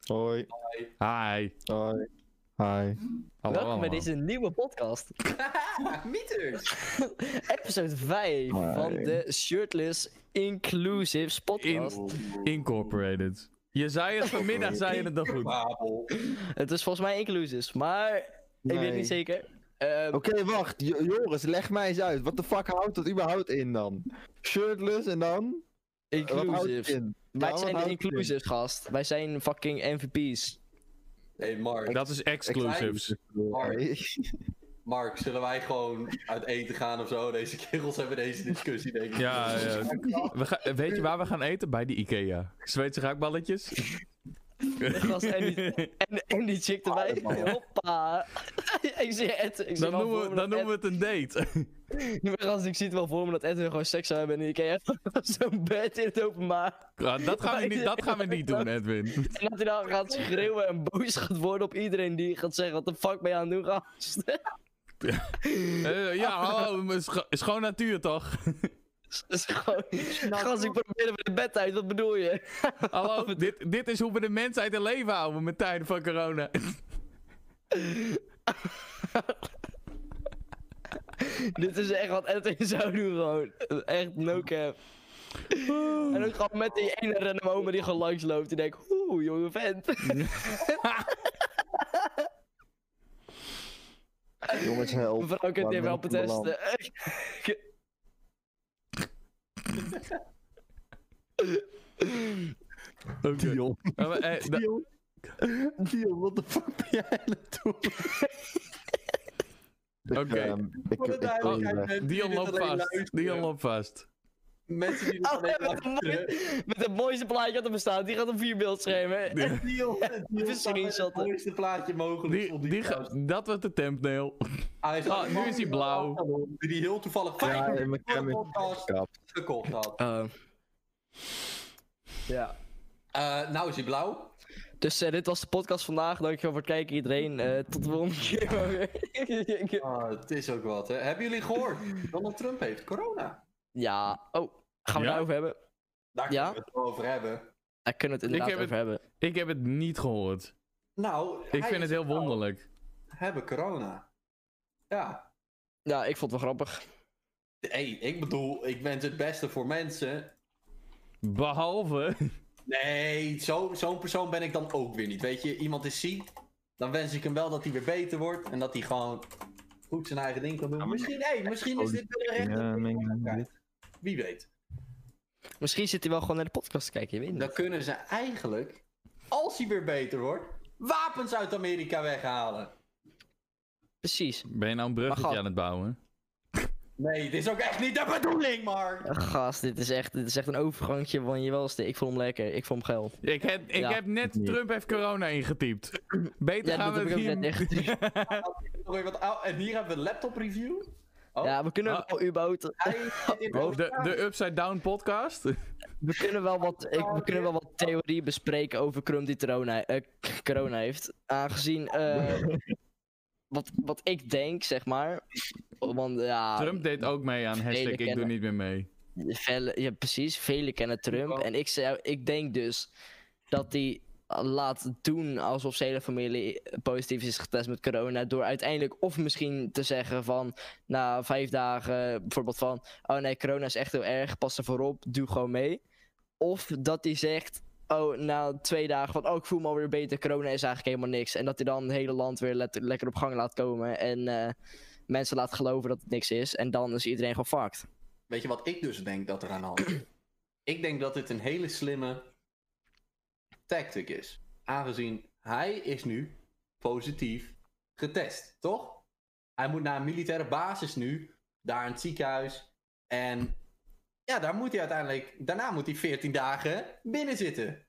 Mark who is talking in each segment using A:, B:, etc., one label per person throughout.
A: Hoi.
B: Hi.
A: Hoi. Hi.
B: Hallo
C: Welkom bij
B: allemaal.
C: deze nieuwe podcast.
D: Mieters!
C: Episode 5
A: Hoi.
C: van de Shirtless Inclusives podcast.
B: Incorporated. Je zei het vanmiddag, zei je het nog goed.
D: Babel.
C: Het is volgens mij Inclusives, maar ik weet
A: Nee.
C: het niet zeker. Ehm,
A: Oké, wacht. Jo- Joris, leg mij eens uit. Wat de fuck houdt dat überhaupt in dan? Shirtless en dan? Wat houdt het
C: inclusives.
A: in?
C: Wij
A: wat
C: zijn
A: houdt
C: de
A: het
C: inclusives, gast. Wij zijn fucking MVP's.
D: Hey Mark,
B: Dat is exclusives.
A: Hoi.
D: Mark, zullen wij gewoon uit eten gaan of zo? Deze kerels hebben deze discussie, denk ik.
B: Ja, ja. We gaan- weet je waar we gaan eten? Bij de Ikea. Zweedse raakballetjes.
C: Gast, en, die, en, en die chick erbij. Hoppa. ik zie het. Ik zie
B: Dan
C: wel
B: noemen,
C: voor
B: we,
C: me
B: dan
C: dat
B: noemen we het een date.
C: Ed- Gast, ik zie het wel voor me dat Edwin gewoon seks zou hebben in de Ikea. Zo'n bed in het openbaar.
B: Ja, Nou, dat, gaan we niet, dat gaan we niet doen, Edwin.
C: En dat hij dan gaat schreeuwen en boos gaat worden op iedereen die gaat zeggen: wat de fuck ben je aan het doen, gast?
B: Eh, ja, hallo, maar is, ge- is gewoon natuur toch?
C: Dat is gewoon. Gast, ik probeer even de bed uit, wat bedoel je?
B: Hallo, dit, dit is hoe we de mensheid in leven houden met tijden van corona.
C: Dit is echt wat Edwin zou doen, gewoon. Echt no cap. En ook gewoon met die ene random oma die gewoon langs loopt en denkt: oeh, jonge vent.
A: Jongens, help.
C: Mevrouw kunt
A: Waar
C: hier wel
A: ben ik beland?
C: betesten.
B: Oké.
A: Dion.
B: Eh, maar, eh, da-
A: Dion. Dion, wat de fuck ben jij aan het doen? Ik,
B: Oké.
A: ehm, ik-
D: Voor de
A: ik wil
D: duidelijkheid,
A: hier weg.
D: mensen die
B: Dion
D: dit
B: loopt
D: alleen
B: vast.
D: luisteren.
B: Dion loopt vast.
D: Mensen die dit
C: Oh,
D: alleen
C: met, het
D: luisteren.
C: mooiste- met het mooiste plaatje dat er bestaat, die gaat op vier beeldschermen.
B: Die-
D: Dion, Dion
C: is
D: staat met
C: screenshotten.
D: het mooiste plaatje mogelijk.
B: Die,
D: stond
B: die ge-
D: thuis.
B: dat wordt de thumbnail.
D: Hij is-
B: Ah, nu is hij blauw.
D: Die heel toevallig vijf
A: Ja,
D: minuten
A: in mijn
D: voor de
A: cam is
D: podcast
A: gekapt.
D: gekocht had.
C: Eh, Ja.
D: Eh, nou is hij blauw.
C: Dus eh, dit was de podcast vandaag. Dankjewel voor het kijken iedereen. Eh, tot de volgende keer. maar weer.
D: Ah, het is ook wat, hè. Hebben jullie gehoord? Donald Trump heeft corona.
C: ja. Oh, gaan we
B: Ja?
C: het over hebben?
D: Daar
C: Ja?
D: kunnen we het wel over hebben.
C: Daar kunnen we het inderdaad
B: heb het-
C: over hebben.
B: Ik heb het niet gehoord.
D: Nou,
B: Ik vind het heel
D: wonderlijk.
B: wonderlijk.
D: hebben corona. Ja.
C: Ja, ik vond het wel grappig.
D: Hey, ik bedoel, ik wens het beste voor mensen.
B: Behalve.
D: Nee, zo- zo'n persoon ben ik dan ook weer niet. Weet je, iemand is ziek. Dan wens ik hem wel dat hij weer beter wordt. En dat hij gewoon goed zijn eigen ding kan doen. misschien, hey, misschien is dit wel een rechter.
A: Ja, meng-
D: Wie weet.
C: Misschien zit hij wel gewoon naar de podcast te kijken. Je weet het niet.
D: Dan kunnen ze eigenlijk, als hij weer beter wordt, wapens uit Amerika weghalen.
C: Precies.
B: Ben je nou een
C: Maar
B: bruggetje
C: gast-
B: aan het bouwen?
D: Nee, dit is ook echt niet de bedoeling, Mark.
C: Gast, dit is echt, dit is echt een overgangje van je welste. Ik vond hem lekker. Ik vond hem geil.
B: Ik heb, ik
C: Ja.
B: heb net
A: Nee.
B: Trump heeft corona ingetypt. Beter
C: Ja,
B: gaan
C: dat
B: we
C: heb ik
B: het
C: ook
B: hier...
C: net echt.
D: Nog even wat ou- oh, En hier hebben we een laptop review. Oh.
C: Ja, we kunnen
B: Ah.
C: wel überhaupt...
D: Hij zit in
B: Oh, De, de Upside Down podcast?
C: We kunnen wel wat, ik, we kunnen wel wat theorie bespreken over Crumb die corona, eh, corona heeft. Aangezien... eh, wat, wat ik denk, zeg maar... Want ja...
B: Trump deed ook mee aan hashtag ik doe
C: Ah, kennen.
B: niet meer mee.
C: Vele, ja, precies. Velen kennen Trump. En ik, zou, ik denk dus dat hij laat doen alsof zijn hele familie positief is getest met corona. Door uiteindelijk of misschien te zeggen van na vijf dagen bijvoorbeeld van... Oh nee, corona is echt heel erg. Pas ervoor op. Doe gewoon mee. Of dat hij zegt... Oh, na twee dagen van, oh, ik voel me alweer beter. Corona is eigenlijk helemaal niks. En dat hij dan het hele land weer let- lekker op gang laat komen. En eh, mensen laat geloven dat het niks is. En dan is iedereen gewoon fucked.
D: Weet je wat ik dus denk dat er aan de hand is? ik denk dat dit een hele slimme tactic is. Aangezien hij is nu positief getest, toch? Hij moet naar een militaire basis nu, daar in het ziekenhuis. En ja, daar moet hij uiteindelijk, daarna moet hij 14 dagen binnen zitten.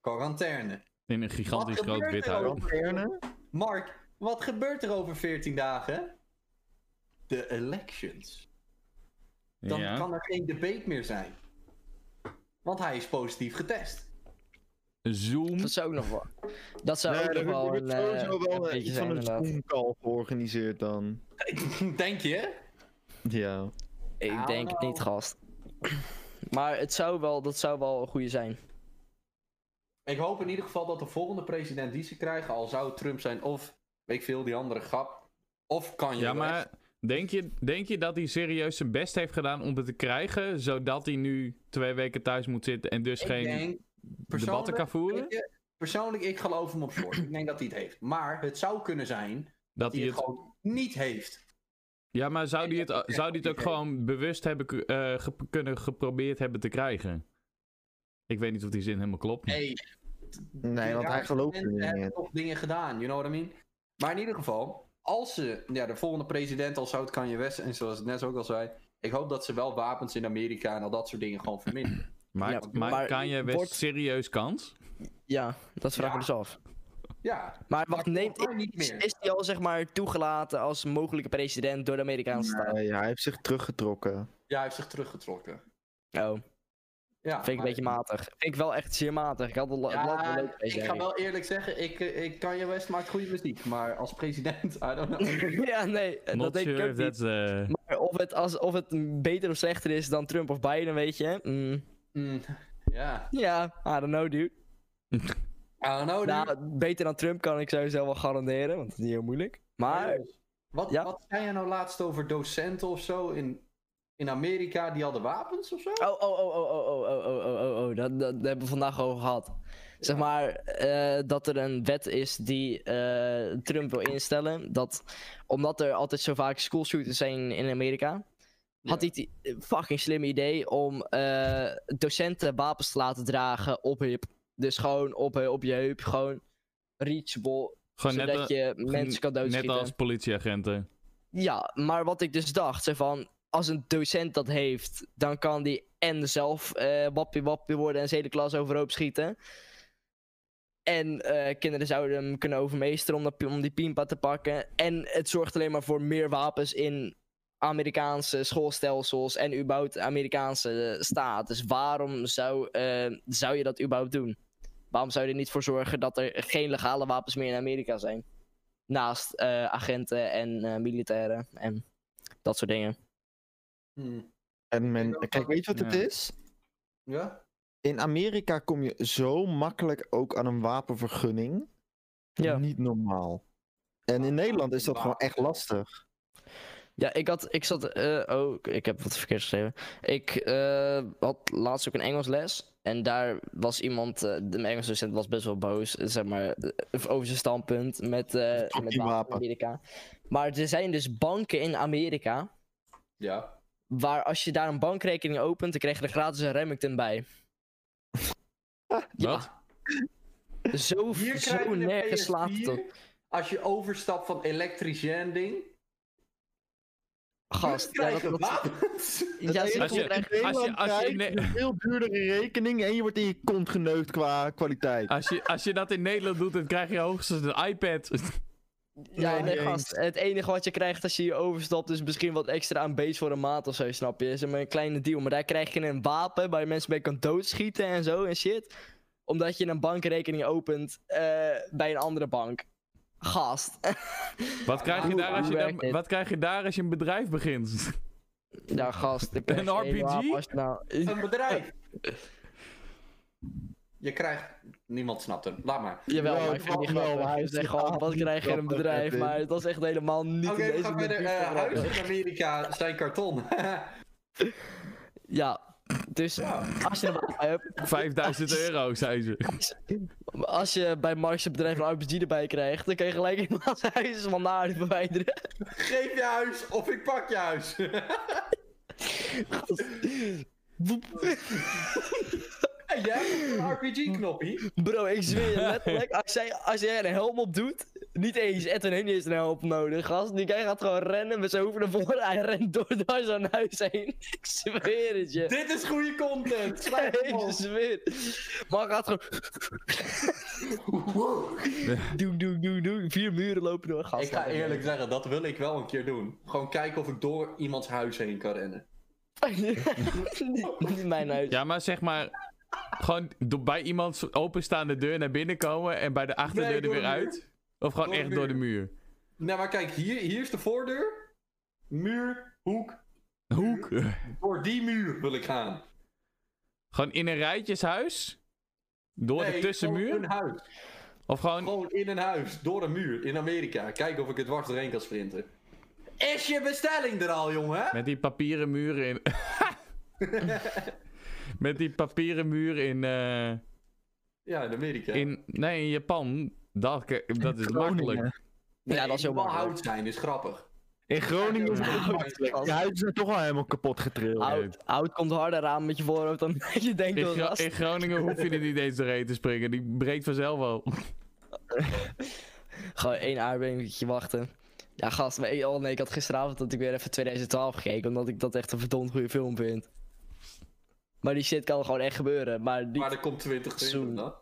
D: Quarantaine.
B: In een gigantisch
D: Wat
B: groot
D: gebeurt
B: wit
D: er nou?
B: huis.
D: ook? Mark, wat gebeurt er over 14 dagen? De elections. dan
B: Ja.
D: kan er geen debate meer zijn. Want hij is positief getest.
B: Zoom.
C: Dat zou ook nog wel. Dat zou
A: Nee,
C: ook nog
A: er
C: wel
A: wordt
C: een, eh,
A: sowieso
C: een
A: wel eh,
C: beetje
A: iets
C: zijn,
A: van een
C: inderdaad.
A: Zoom-call georganiseerd dan.
D: Denk je?
A: Ja.
C: Ik denk het niet, gast. Maar het zou wel, dat zou wel een goede zijn.
D: Ik hoop in ieder geval dat de volgende president die ze krijgen, al zou het Trump zijn of, weet ik veel, die andere grap, of kan je
B: Ja, maar denk je, denk je dat hij serieus zijn best heeft gedaan om het te krijgen, zodat hij nu twee weken thuis moet zitten en dus geen debatten kan voeren?
D: Persoonlijk, ik geloof hem op slot. ik denk dat hij het heeft. Maar het zou kunnen zijn
B: Dat
D: dat
B: hij
D: hij het
B: het,
D: gewoon niet heeft.
B: ja, maar zou hij het,
D: dat hij
B: zou hij
D: het
B: het ook
D: niet
B: gewoon bewust hebben ku- eh, gep- kunnen geprobeerd hebben te krijgen? Ik weet niet of die zin helemaal klopt. maar-
D: Hey,
A: Nee, want hij gelooft er
D: mensen
A: niet
D: hebben
A: in.
D: toch dingen gedaan, you know what I mean? Maar in ieder geval, als ze, ja, de volgende president al zou het Kanye West, en zoals ik net ook al zei, ik hoop dat ze wel wapens in Amerika en al dat soort dingen gewoon verminderen.
B: Maakt,
C: Ja,
B: maakt
C: maar
B: Kanye West
C: wordt- Eh,
B: serieus kans?
C: Ja, dat vraag ik
D: Ja.
C: me dus af.
D: Ja,
C: Maar wat
D: Maar
C: neemt...
D: volgens mij niet
C: Is,
D: meer.
C: is hij al zeg maar toegelaten als mogelijke president door de Amerikaanse staat?
A: Nee, hij heeft zich teruggetrokken.
D: ja, hij heeft zich teruggetrokken.
C: Oh,
D: Ja,
C: vind ik een
D: maar-
C: beetje matig. Vind ik wel echt zeer matig. Ik had het la- het land wel
D: Ja,
C: leuk
D: ik ga wel eerlijk zeggen, ik, eh, ik Kanye West maakt goede muziek, maar als president, I don't know.
C: Ja, nee, eh, dat
B: Not
C: denk
B: sure
C: ik
B: if
C: ook
B: that's,
C: niet.
B: eh,
C: Maar of het, als, of het beter of slechter is dan Trump of Biden, weet je. mm,
D: Mm, Ja,
C: Ja, I don't know, dude.
D: I don't know. dude.
C: Nou, beter dan Trump kan ik sowieso wel garanderen, want het is niet heel moeilijk. Maar,
D: Wat,
C: Ja?
D: wat zei je nou laatst over docenten of zo in, in Amerika die hadden wapens of zo?
C: oh, oh, oh, oh, oh, oh, oh, oh, oh, oh, dat, dat, daar hebben we vandaag over gehad. Zeg maar, eh, dat er een wet is die eh, Trump wil instellen, dat omdat er altijd zo vaak schoolshooters zijn in Amerika, had hij
D: Ja.
C: het i- fucking slim idee om eh, docenten wapens te laten dragen op hip. Dus gewoon op, op je heup, gewoon reachable,
B: gewoon net,
C: zodat
B: al-
C: je mensen kan
B: net
C: doodschieten.
B: als politieagenten.
C: Ja, maar wat ik dus dacht, zei van, als een docent dat heeft, dan kan die en zelf eh wappie wappie worden en zijn hele klas overhoop schieten. En eh, kinderen zouden hem kunnen overmeesteren om, dat, pi- om die piempa te pakken. En het zorgt alleen maar voor meer wapens in Amerikaanse schoolstelsels en überhaupt Amerikaanse eh, staat. Dus waarom zou, eh, zou je dat überhaupt doen? Waarom zou je er niet voor zorgen dat er geen legale wapens meer in Amerika zijn? Naast eh, agenten en eh, militairen en dat soort dingen.
D: Hmm.
A: En
D: Ik
A: men,
D: ook
A: kijk,
D: wel.
A: weet je wat het
B: Ja.
A: is?
D: Ja?
A: In Amerika kom je zo makkelijk ook aan een wapenvergunning.
C: Ja.
A: Niet normaal. En in Nederland is dat gewoon echt lastig.
C: Ja, ik had, ik zat, eh, oh, ik- ik heb wat verkeerd geschreven. Ik eh, had laatst ook een Engels les. En daar was iemand, eh, de mijn Engels docent was best wel boos, eh, zeg maar, eh, over zijn standpunt met, eh met
A: Fucking
C: wapens in
A: wapen.
C: Amerika. Maar er zijn dus banken in Amerika,
D: Ja.
C: waar als je daar een bankrekening opent, dan krijg je er gratis een Remington bij.
B: Wat?
C: Zo,
D: Hier krijg je
C: zo
D: een
C: nergens
D: PS4
C: slaat het op.
D: Als je overstapt van elektricien ding,
C: Gast, ja, dat,
D: krijgen
C: dat-
D: wapens.
C: ja,
A: Als
C: zo
B: je-
C: krijg je-
B: als je- als je-
A: krijgt,
B: nee.
A: een veel duurdere rekening en je wordt in je kont geneukt qua kwaliteit.
B: Als je, als je dat in Nederland doet, dan krijg je hoogstens een iPad.
C: Ja,
A: Nee,
C: nee,
A: niet
C: gast. Het enige wat je krijgt als je hier overstapt is misschien wat extra aan base voor een maand of zo, snap je? Is maar een kleine deal. Maar daar krijg je een wapen waar je mensen mee kan doodschieten en zo en shit. Omdat je een bankrekening opent eh, bij een andere bank. Gast.
B: Wat krijg je
C: hoe-
B: daar als je,
C: hoe
B: daar-
C: werkt dit?
B: wat krijg je daar als je een bedrijf begint?
C: ja, gast. dan krijg
B: Een
C: je hele
B: RPG?
C: wapen als je nou...
D: Een bedrijf. Je krijgt... Niemand snapt hem. Laat maar.
C: Jawel,
A: Ja,
C: maar ik vind die
A: wel,
C: grappig.
A: maar hij
C: Hij
A: is
C: zegt gewoon,
A: totaal
C: wat krijg je in een
A: niet grappig,
C: bedrijf?
A: dit.
C: Maar het was echt helemaal niet
D: Oké,
C: in
D: we
C: deze
D: gaan verder.
C: buurt
D: Eh,
C: grappig.
D: huizen in Amerika zijn karton.
C: Ja, dus als je een wapen hebt,
B: 5000 euro, zei ze.
C: Als je bij Marks een bedrijf een RPG erbij krijgt, dan kan je gelijk iemands huis van naar verwijderen.
D: Geef je huis of ik pak je huis.
C: Woep.
D: Hey, jij hebt een RPG-knoppie.
C: Bro, ik zweer je letterlijk, als jij, als jij een helm op doet, niet eens, Edwin heeft niet eens een helm op nodig, gast. Die guy gaat gewoon rennen met zijn hoofd naar voren, hij rent door, door zijn huis heen. Ik zweer het je.
D: Dit is goede content. Schrijf hem op.
C: Ik zweer. Maar hij gaat gewoon, doe, doe, doe, doe, vier muren lopen door, gast.
D: Ik ga eerlijk zeggen, dat wil ik wel een keer doen. Gewoon kijken of ik door iemands huis heen kan rennen.
C: niet, niet mijn huis.
B: Ja, maar zeg maar. Gewoon do- bij iemands openstaande deur naar binnen komen en bij de achterdeur
D: Nee,
B: er
D: door
B: weer
D: de muur.
B: uit. Of gewoon
D: Door de
B: echt door de muur.
D: Nou, maar kijk, hier, hier is de voordeur. Muur, hoek.
B: Hoek.
D: Door die muur wil ik gaan.
B: gewoon in een rijtjeshuis. Door de
D: Nee,
B: tussenmuur?
D: gewoon Een huis.
B: Of gewoon...
D: Gewoon in een huis, door een muur, in Amerika. Kijken of ik het dwars doorheen kan sprinten. Is je bestelling er al, jongen?
B: Met die papieren muren in. Met die papieren muur in. eh,
D: Ja, in Amerika.
B: in nee, in Japan. Dat, dat is
A: Groningen.
B: makkelijk.
D: Nee,
C: Ja, dat is heel
D: het moet wel
C: makkelijk.
D: hout zijn, is grappig.
A: In Groningen is
D: Ja,
A: het
D: ja.
A: makkelijk. De huizen zijn toch al helemaal kapot getrild.
C: Hout, hout komt harder aan met je voorhoofd dan je denkt.
B: In,
C: hoor,
B: Gro-
C: gast.
B: in Groningen hoef je er niet eens doorheen te springen. Die breekt vanzelf al.
C: Gewoon één aardbevingetje wachten. Ja, gast, maar oh nee, ik had gisteravond dat ik weer even 2012 gekeken, omdat ik dat echt een verdomd goede film vind. Maar die shit kan gewoon echt gebeuren. Maar niet,
D: Maar er komt 20
C: Zoen.
D: in. dan.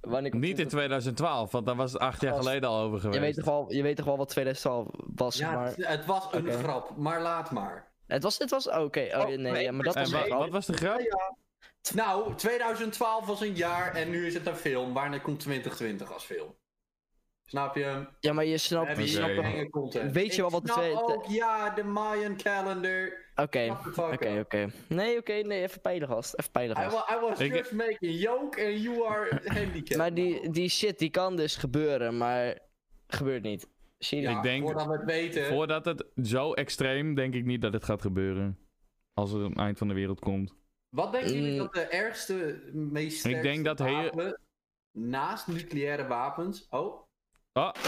C: wanneer komt
B: Niet in 2012, want daar was het acht jaar
C: Gast,
B: geleden al over
C: je, weet
B: geweest.
C: toch wel, je weet toch wel wat 2012 was,
D: Ja,
C: maar...
D: het, het was een
C: Oké.
D: grap, maar laat maar.
C: Het was, het was, oké, oh,
A: Oh,
C: ja, nee,
A: nee,
C: ja, maar dat was
B: en wa-
C: wel-
B: wat was de grap?
D: Nou, 2012 was een jaar en nu is het een film. Wanneer komt 2020 als film? Snap je hem?
C: Ja, maar je snapt,
D: Heb
C: je
D: je
B: Oké.
C: snapt
D: hier
C: wel-
D: enge content?
C: Weet je
D: Ik
C: wel wat de
D: snap
C: tweede-
D: ook, ja, de Mayan calendar.
C: Oké,
D: What the fuck
C: oké,
D: up.
C: oké. Nee, oké, nee, even peilen, gast, even peilen,
D: I,
C: gast.
D: wa- I was
B: Ik-
D: just making joke and you are handicapped.
C: Maar die, die shit, die kan dus gebeuren, maar gebeurt niet. Zie je?
D: Ja,
B: Ik denk-
D: Voordat we het weten.
B: Voordat het zo extreem, denk ik niet dat het gaat gebeuren. Als er een eind van de wereld komt.
D: Wat denken jullie
C: Mm.
D: dat de ergste, meest
B: Ik denk
D: sterkste
B: dat heel-
D: wapen, naast nucleaire wapens... Oh.
B: Ah,
D: dat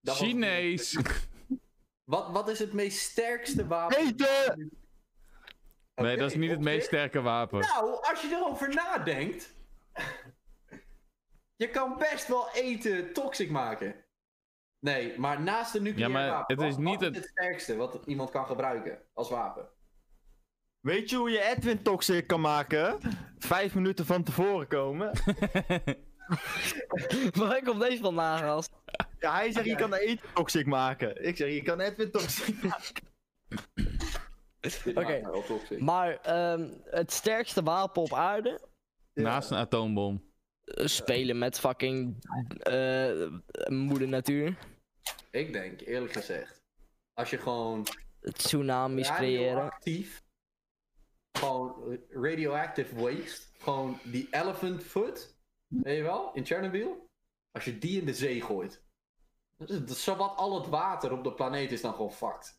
D: was-
B: Chinees!
D: Wat, wat is het meest sterkste wapen?
A: Eten!
B: Nee,
D: Oké,
B: dat is niet het
D: op
B: meest
D: zich.
B: sterke wapen.
D: Nou, als je erover nadenkt. je kan best wel eten toxic maken. Nee, maar naast de nucleaire
B: Ja, maar
D: wapen,
B: het is
D: wat-
B: niet
D: wat
B: het-
D: is het sterkste wat iemand kan gebruiken als wapen.
A: Weet je hoe je Edwin toxic kan maken? Vijf minuten van tevoren komen.
C: Maar ik op deze van na, gast.
A: Ja, hij zegt je kan de eten toxic maken. Ik zeg je kan Edwin toxic maken.
D: Dit
C: Oké.
D: maakt mij wel toxic.
C: Maar ehm, het sterkste wapen op aarde?
B: Naast een atoombom.
C: eh, Spelen met fucking eh, moeder natuur.
D: Ik denk, eerlijk gezegd, als je gewoon
C: Tsunamis creëren.
D: radioactief, gewoon radioactive waste, gewoon die elephant foot, weet je wel, in Chernobyl, als je die in de zee gooit, dat is- dat is zowat al het water op de planeet is dan gewoon fucked.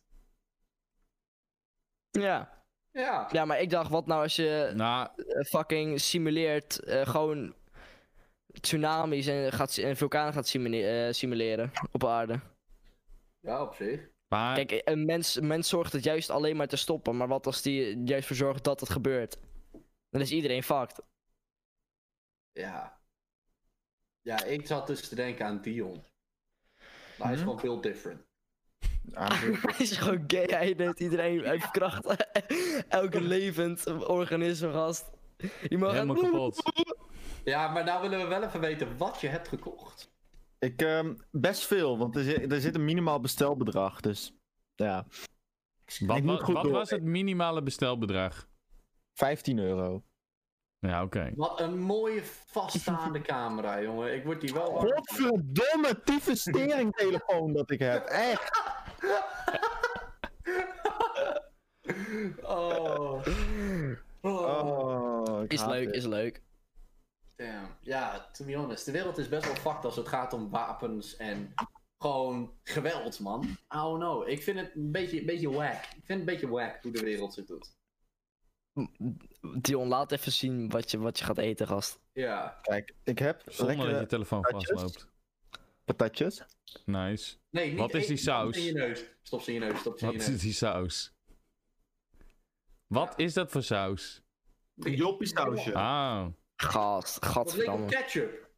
C: Ja.
D: Ja,
C: ja, maar ik dacht, wat nou als je
B: Nou,
C: eh, fucking simuleert, eh, gewoon tsunamis en, gaat, en vulkanen gaat simule- eh, simuleren op aarde?
D: ja op zich.
B: maar
C: Kijk, een mens, een mens zorgt het juist alleen maar te stoppen, maar wat als die juist voor zorgt dat het gebeurt? Dan is iedereen fucked.
D: Ja. Ja, ik zat dus te denken aan Dion. Maar hij is
A: Hm?
D: gewoon veel different.
C: Hij is gewoon gay, hij neemt iedereen, hij verkracht elke levend organisme, gast. Je mag
B: helemaal kapot.
D: Ja, maar nou willen we wel even weten wat je hebt gekocht.
A: Ik, ehm, best veel, want er zit, er zit een minimaal bestelbedrag, dus... Ja,
B: Wat,
A: Ik moet
B: wa-
A: goed
B: wat
A: door.
B: was het minimale bestelbedrag?
A: 15 euro.
B: Ja, oké.
D: Wat een mooie vaststaande camera, jongen. Ik word die wel... warm van.
A: Godverdomme telefoon dat ik heb, echt!
D: Oh. Oh.
A: Oh, ik
C: Is
A: haat
C: leuk,
A: dit.
C: is leuk.
D: Damn. Ja, to be honest. De wereld is best wel fucked als het gaat om wapens en gewoon geweld, man. I don't know. Ik vind het een beetje, een beetje whack. Ik vind het een beetje whack hoe de wereld zich doet.
C: Dion, laat even zien wat je, wat je gaat eten, gast.
D: Ja.
A: Kijk, ik eh, heb
B: Zonder dat je
A: lekkere
B: telefoon
A: patatjes.
B: vastloopt.
A: patatjes.
B: Nice.
D: Nee, niet
B: Wat is
D: eten.
B: die saus?
D: Stop ze in je neus. Stop ze in je neus. Stop ze in
B: Wat
D: je
B: is
D: neus.
B: die saus? Wat is dat voor saus?
A: Joppie sausje.
B: Ah.
C: Gast,
D: Dat leek op
C: gadverdamme.
D: ketchup.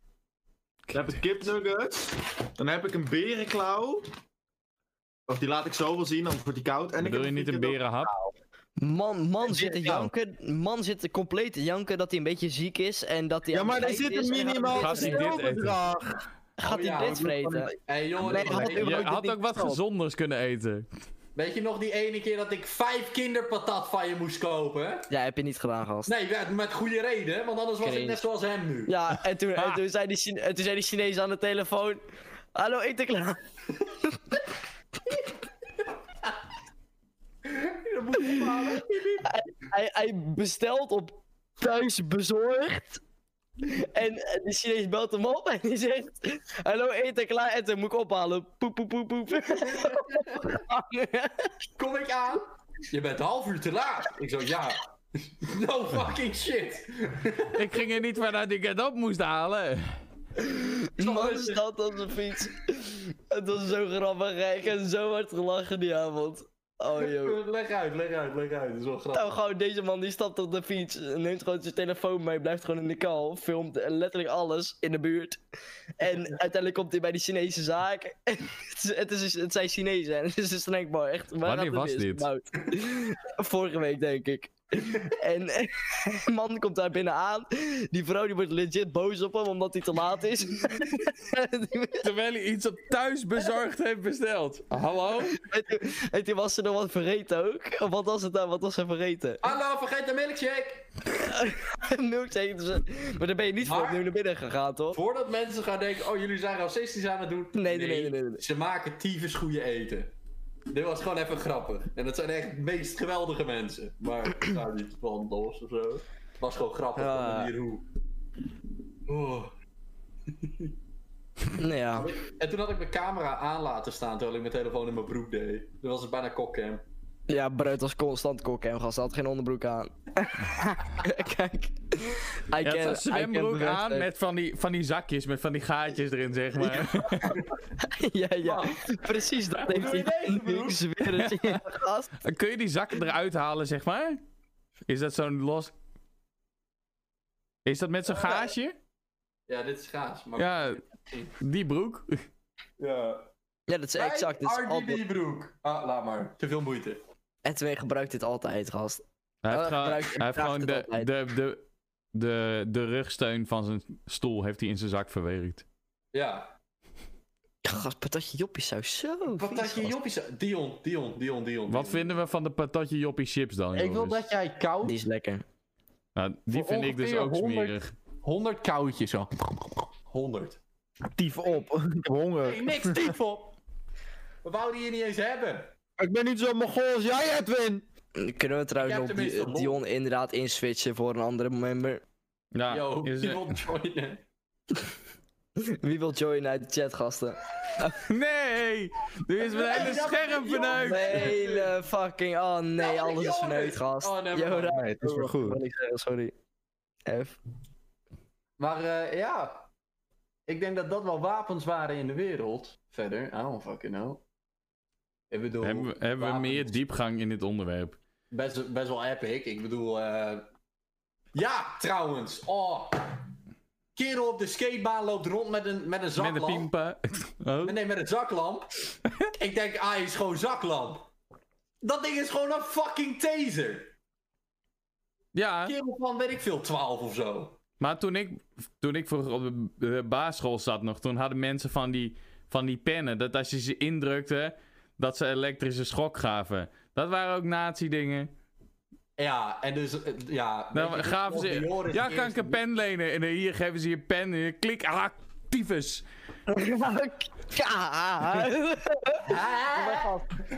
A: Dan heb ik kipnuggets. Dan heb ik een berenklauw. Of die laat ik zo wel zien, dan wordt die koud. En
B: Bedoel je niet een berenhap?
C: Man, man
A: dit
C: zit te
A: nou?
C: janken, man zit te compleet te janken dat hij een beetje ziek is en dat hij
A: Ja,
C: aan
A: maar
C: het
A: er
C: lijden
A: zit een
C: is en
A: minimaal
B: Gaat hij dit eten?
A: bestelbedrag.
C: Gaat
D: Oh ja,
C: hij dit
D: want-
C: vreten?
D: Hé hey, jongen,
C: Nee,
D: dat-
C: had
D: weet,
C: ik
D: je,
B: Je
A: überhaupt
B: had
A: niet
B: ook wat
A: besteld.
B: gezonders kunnen eten.
D: weet je nog die ene keer dat ik vijf kinderpatat van je moest kopen?
C: Ja, heb je niet gedaan, gast.
D: Nee, ja, met goede reden, want anders was ik
C: Cringe.
D: net zoals hem nu.
C: Ja, en toen, en
B: Ha.
C: toen, zei die Chine- en toen zei die Chinees aan de telefoon... Hallo, eten klaar?
D: Dat moet je ophalen.
C: Hij, hij bestelt op thuis bezorgd. En eh, de Chinees belt hem op en die zegt: Hallo, eten klaar, eten moet ik ophalen. Poep, poep, poep, poep.
D: Kom ik aan? Je bent een half uur te laat. Ik zo, ja. No fucking shit.
B: Ik ging er niet vanuit dat ik het op moest halen.
C: Man staat op zijn fiets. Het was zo grappig, hè. ik heb zo hard gelachen die avond. Oh joh.
D: Leg uit, leg uit, leg uit. Dat is wel
C: Nou,
D: grappig.
C: gewoon deze man die stapt op de fiets, neemt gewoon zijn telefoon mee, blijft gewoon in de kal, filmt letterlijk alles in de buurt. En uiteindelijk komt hij bij die Chinese zaak. En het, is- het, is, het zijn Chinezen en het is een snackbar, echt. waar
B: Wanneer
C: gaat het
B: was
C: mis?
B: dit?
C: Nou, vorige week, denk ik. En en een man komt daar binnen aan. Die vrouw die wordt legit boos op hem omdat hij te laat is.
B: Terwijl hij iets op thuis bezorgd heeft besteld. Hallo?
C: en, toen, en toen was ze nog wat vergeten ook. Wat was het nou? Wat was ze vergeten?
D: Anna, vergeet de milkshake.
C: Een milkshake. dus, eh, maar daar ben je niet voor
D: Maar-
C: opnieuw naar binnen gegaan, toch?
D: Voordat mensen gaan denken, oh jullie zijn racistisch aan het doen.
C: Nee, nee, nee, nee, nee, nee.
D: Ze maken tyfus goede eten. Dit was gewoon even grappig. En dat zijn echt de meest geweldige mensen. Maar ik ga niet van los of zo. Het was gewoon grappig op de
C: Ja.
D: manier hoe. Oh.
C: Nou ja.
D: En toen had ik mijn camera aan laten staan terwijl ik mijn telefoon in mijn broek deed. Toen was het bijna kokcam.
C: Ja, Breut was constant kokken, gast. Hij had geen onderbroek aan. Kijk.
B: Hij
C: Hij
B: had zijn zwembroek aan met van die, van die zakjes, met van die gaatjes erin, zeg maar.
C: ja, ja. Precies, dat heeft
A: doe je
C: hij.
A: deze, broer?
C: Ik zweer het je, gast.
B: Kun je die zakken eruit halen, zeg maar? Is dat zo'n los... Is dat met zo'n gaasje?
D: Ja, dit is gaas. Maar...
B: Ja, die broek.
D: ja.
C: Ja, dat is exact. Dat is dus altijd...
D: RGB-broek. Ah, laat maar. Te veel moeite.
C: Edwin gebruikt dit altijd, gast.
B: Hij heeft
C: Oh,
B: gewoon,
C: gebruikt-
B: hij heeft
C: draagt
B: gewoon
C: het
B: de,
C: altijd.
B: de, de, de, de rugsteun van zijn stoel heeft hij in zijn zak verwerkt.
D: Ja.
C: Gast, patatje joppie saus. Zo.
D: Wat
C: vies,
D: dat je
C: gast.
D: joppies... Dion, Dion, Dion, Dion.
B: Wat vinden we van de patatje joppie chips dan,
D: Ik wil
B: jongens?
D: dat jij koud
C: Die is lekker.
B: Nou, die
D: Voor
B: vind ik dus
D: ongeveer
B: ook
D: 100
B: smerig.
D: 100 koudjes zo. 100.
E: Tief op. Ik heb honger.
D: Nee, niks diep op. We wouden je niet eens hebben.
E: Ik ben niet zo mongool als jij, Edwin.
C: Kunnen we trouwens
D: Je
C: nog
D: hebt tenminste
C: Di-
D: lol.
C: Dion inderdaad inswitchen voor een andere member?
B: Ja,
D: Yo,
B: is
D: die
B: er-
D: wil joinen.
C: Wie wil joinen uit de chat, gasten?
B: Nee! Er is mijn hele scherm verneukt!
C: Hele fucking. Oh nee,
D: Ja,
C: alles is
D: Jonas.
C: verneukt, gast.
D: Oh, never
C: Jonas.
E: Nee, het is wel
C: Ik
E: goed.
C: wil niks zeggen, sorry. F.
D: Maar eh, ja, ik denk dat dat wel wapens waren in de wereld. Verder, I don't fucking know. Ik bedoel,
B: Hebben, we- hebben we
D: wapens.
B: meer diepgang in dit onderwerp?
D: Best, best wel epic. Ik bedoel, eh, ja, trouwens. Oh. Kerel op de skatebaan loopt rond met een, met een
B: Met een
D: zaklamp.
B: piempa. Oh.
D: Nee, met een zaklamp. ik denk, ah, hij is gewoon zaklamp. Dat ding is gewoon een fucking taser.
B: Ja,
D: Kerel van, weet ik veel, 12 of zo.
B: maar toen ik, toen ik vroeger op de eh, basisschool zat nog, toen hadden mensen van die, van die pennen, dat als je ze indrukte, dat ze elektrische schok gaven. Dat waren ook nazi-dingen.
D: Ja, en dus, eh, ja. weet
B: Nou,
D: je,
B: gaven
D: de
B: ze...
D: Joris
B: Ja,
D: de
B: kan ik
D: eerste-
B: een pen lenen? En dan hier geven ze je pen en je klik, ah, tyfus.
C: Ka-
D: Ah,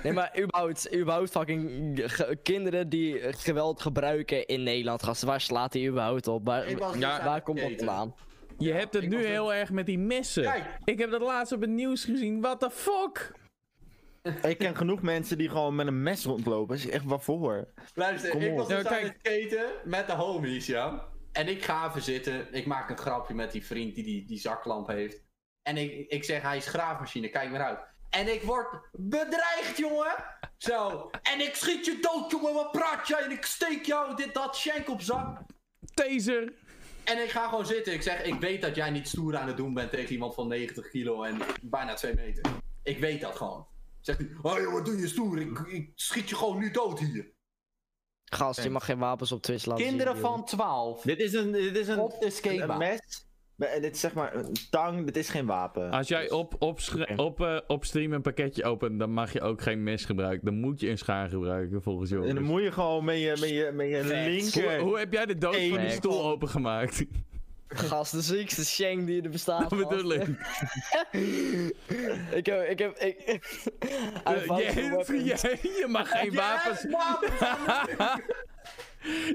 C: Nee, maar überhaupt, überhaupt fucking ge- kinderen die geweld gebruiken in Nederland, gasten. Waar slaat hij überhaupt op? Waar,
D: Ik was dus
B: Ja.
D: aan
C: waar
D: het
C: komt dat
D: skaten.
C: vandaan?
B: Je hebt het
D: ik
B: nu
D: was er-
B: heel erg met die messen.
D: Kijk.
B: Ik heb dat laatst op het nieuws gezien. What the fuck?
E: Ik ken genoeg mensen die gewoon met een mes rondlopen. Dat is echt waarvoor.
D: Luister,
E: Kom
D: ik
E: op.
D: was dus
B: Ja,
D: aan
B: kijk.
D: het skaten met de homies, ja. En ik ga even zitten. Ik maak een grapje met die vriend die die, die zaklamp heeft. En ik, ik zeg, hij is graafmachine, kijk maar uit. En ik word bedreigd, jongen. Zo. En ik schiet je dood, jongen. Wat praat jij? En ik steek jou dit, dat, shank op zak.
B: Taser.
D: En ik ga gewoon zitten. Ik zeg, ik weet dat jij niet stoer aan het doen bent tegen iemand van 90 kilo en bijna 2 meter. Ik weet dat gewoon. Zegt hij, oh joh, wat doe je stoer? Ik, ik schiet je gewoon nu dood hier.
C: Gast, je mag geen wapens op Twitch laten
D: Kinderen
C: zien, joh.
D: van 12.
E: Dit is een, dit is een,
D: Op de
E: een
D: skatebaan.
E: mes. Eh, Dit is zeg maar een tang. Dit is geen wapen.
B: Als jij op, op, schre- op, eh, op stream een pakketje opent, dan mag je ook geen mes gebruiken. Dan moet je een schaar gebruiken, volgens jou.
E: En dan moet je gewoon met je, met je, met je
B: hoe,
E: linker.
B: hoe heb jij de doos van die
E: Eén.
B: stoel opengemaakt?
C: Gast, de ziekste shank die er bestaat.
B: Dat bedoel
C: gast.
B: ik.
C: ik heb, ik heb, ik... I
B: Eh,
C: found
B: Je,
C: some
B: je,
C: weapons.
B: je mag geen wapens...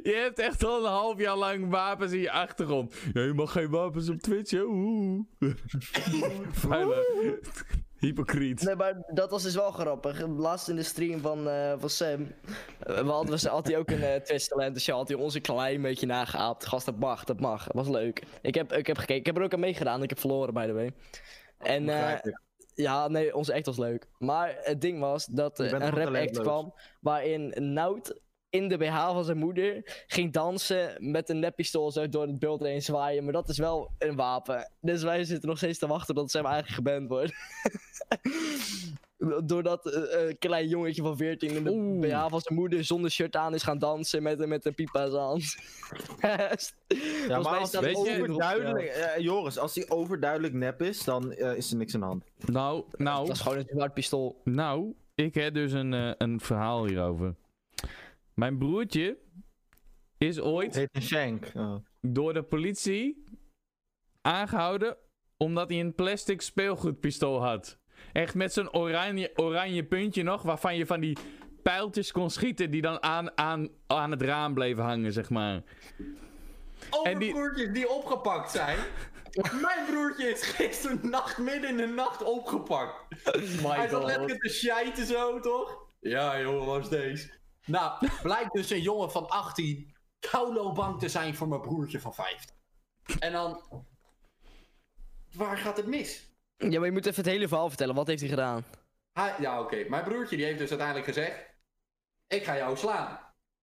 B: Je hebt echt al een half jaar lang wapens in je achtergrond. Ja, je mag geen wapens op Twitch, hè? Oeh. Vuile. Hypocriet.
C: Nee, maar dat was dus wel grappig. Laatst in de stream van, eh, van Sam. eh, We hadden, we, had hij ook een eh, Twitch talent. Dus ja, had hij ons een klein beetje nageaapt. Gast, dat mag, dat mag. Dat was leuk. Ik heb, ik heb gekeken. Ik heb er ook aan meegedaan. Ik heb verloren, by the way. En eh, ja, nee, onze act was leuk. Maar het ding was dat eh,
A: Je bent
C: een
A: gewoon
C: rap act
A: talentloos.
C: kwam. Waarin Nout in de BH van zijn moeder ging dansen met een neppistool zo door het beeld heen zwaaien. Maar dat is wel een wapen. Dus wij zitten nog steeds te wachten tot Sam eigenlijk geband wordt. Doordat eh, een klein jongetje van 14 in de
B: Oeh.
C: BH van zijn moeder zonder shirt aan is gaan dansen met, een- met een pipa in zijn hand.
E: Ja, maar als
B: Weet
E: het
B: je-
E: overduidelijk... eh, Joris, als hij overduidelijk nep is, dan eh, is er niks aan de hand.
B: Nou,
C: Dat
B: nou,
C: is gewoon een zwart pistool.
B: nou. Ik heb dus een, eh, een verhaal hierover. Mijn broertje is ooit
E: Het heet een shank. Oh.
B: door de politie aangehouden omdat hij een plastic speelgoedpistool had. Echt met zo'n oranje, oranje puntje nog, waarvan je van die pijltjes kon schieten die dan aan, aan, aan het raam bleven hangen, zeg maar.
D: Oh. Alle
B: En die-
D: broertjes die opgepakt zijn. Mijn broertje is gisteren nacht, midden in de nacht opgepakt. Hij zat letterlijk te shiten zo, toch? Oh Ja, jongen, was deze. Nou, blijkt dus een jongen van 18 koulo bang te zijn voor mijn broertje van 15. En dan... Waar gaat het mis?
C: Ja, maar je moet even het hele verhaal vertellen. Wat heeft hij gedaan?
D: Hij- ja, oké. Mijn broertje die heeft dus uiteindelijk gezegd... Ik ga jou slaan.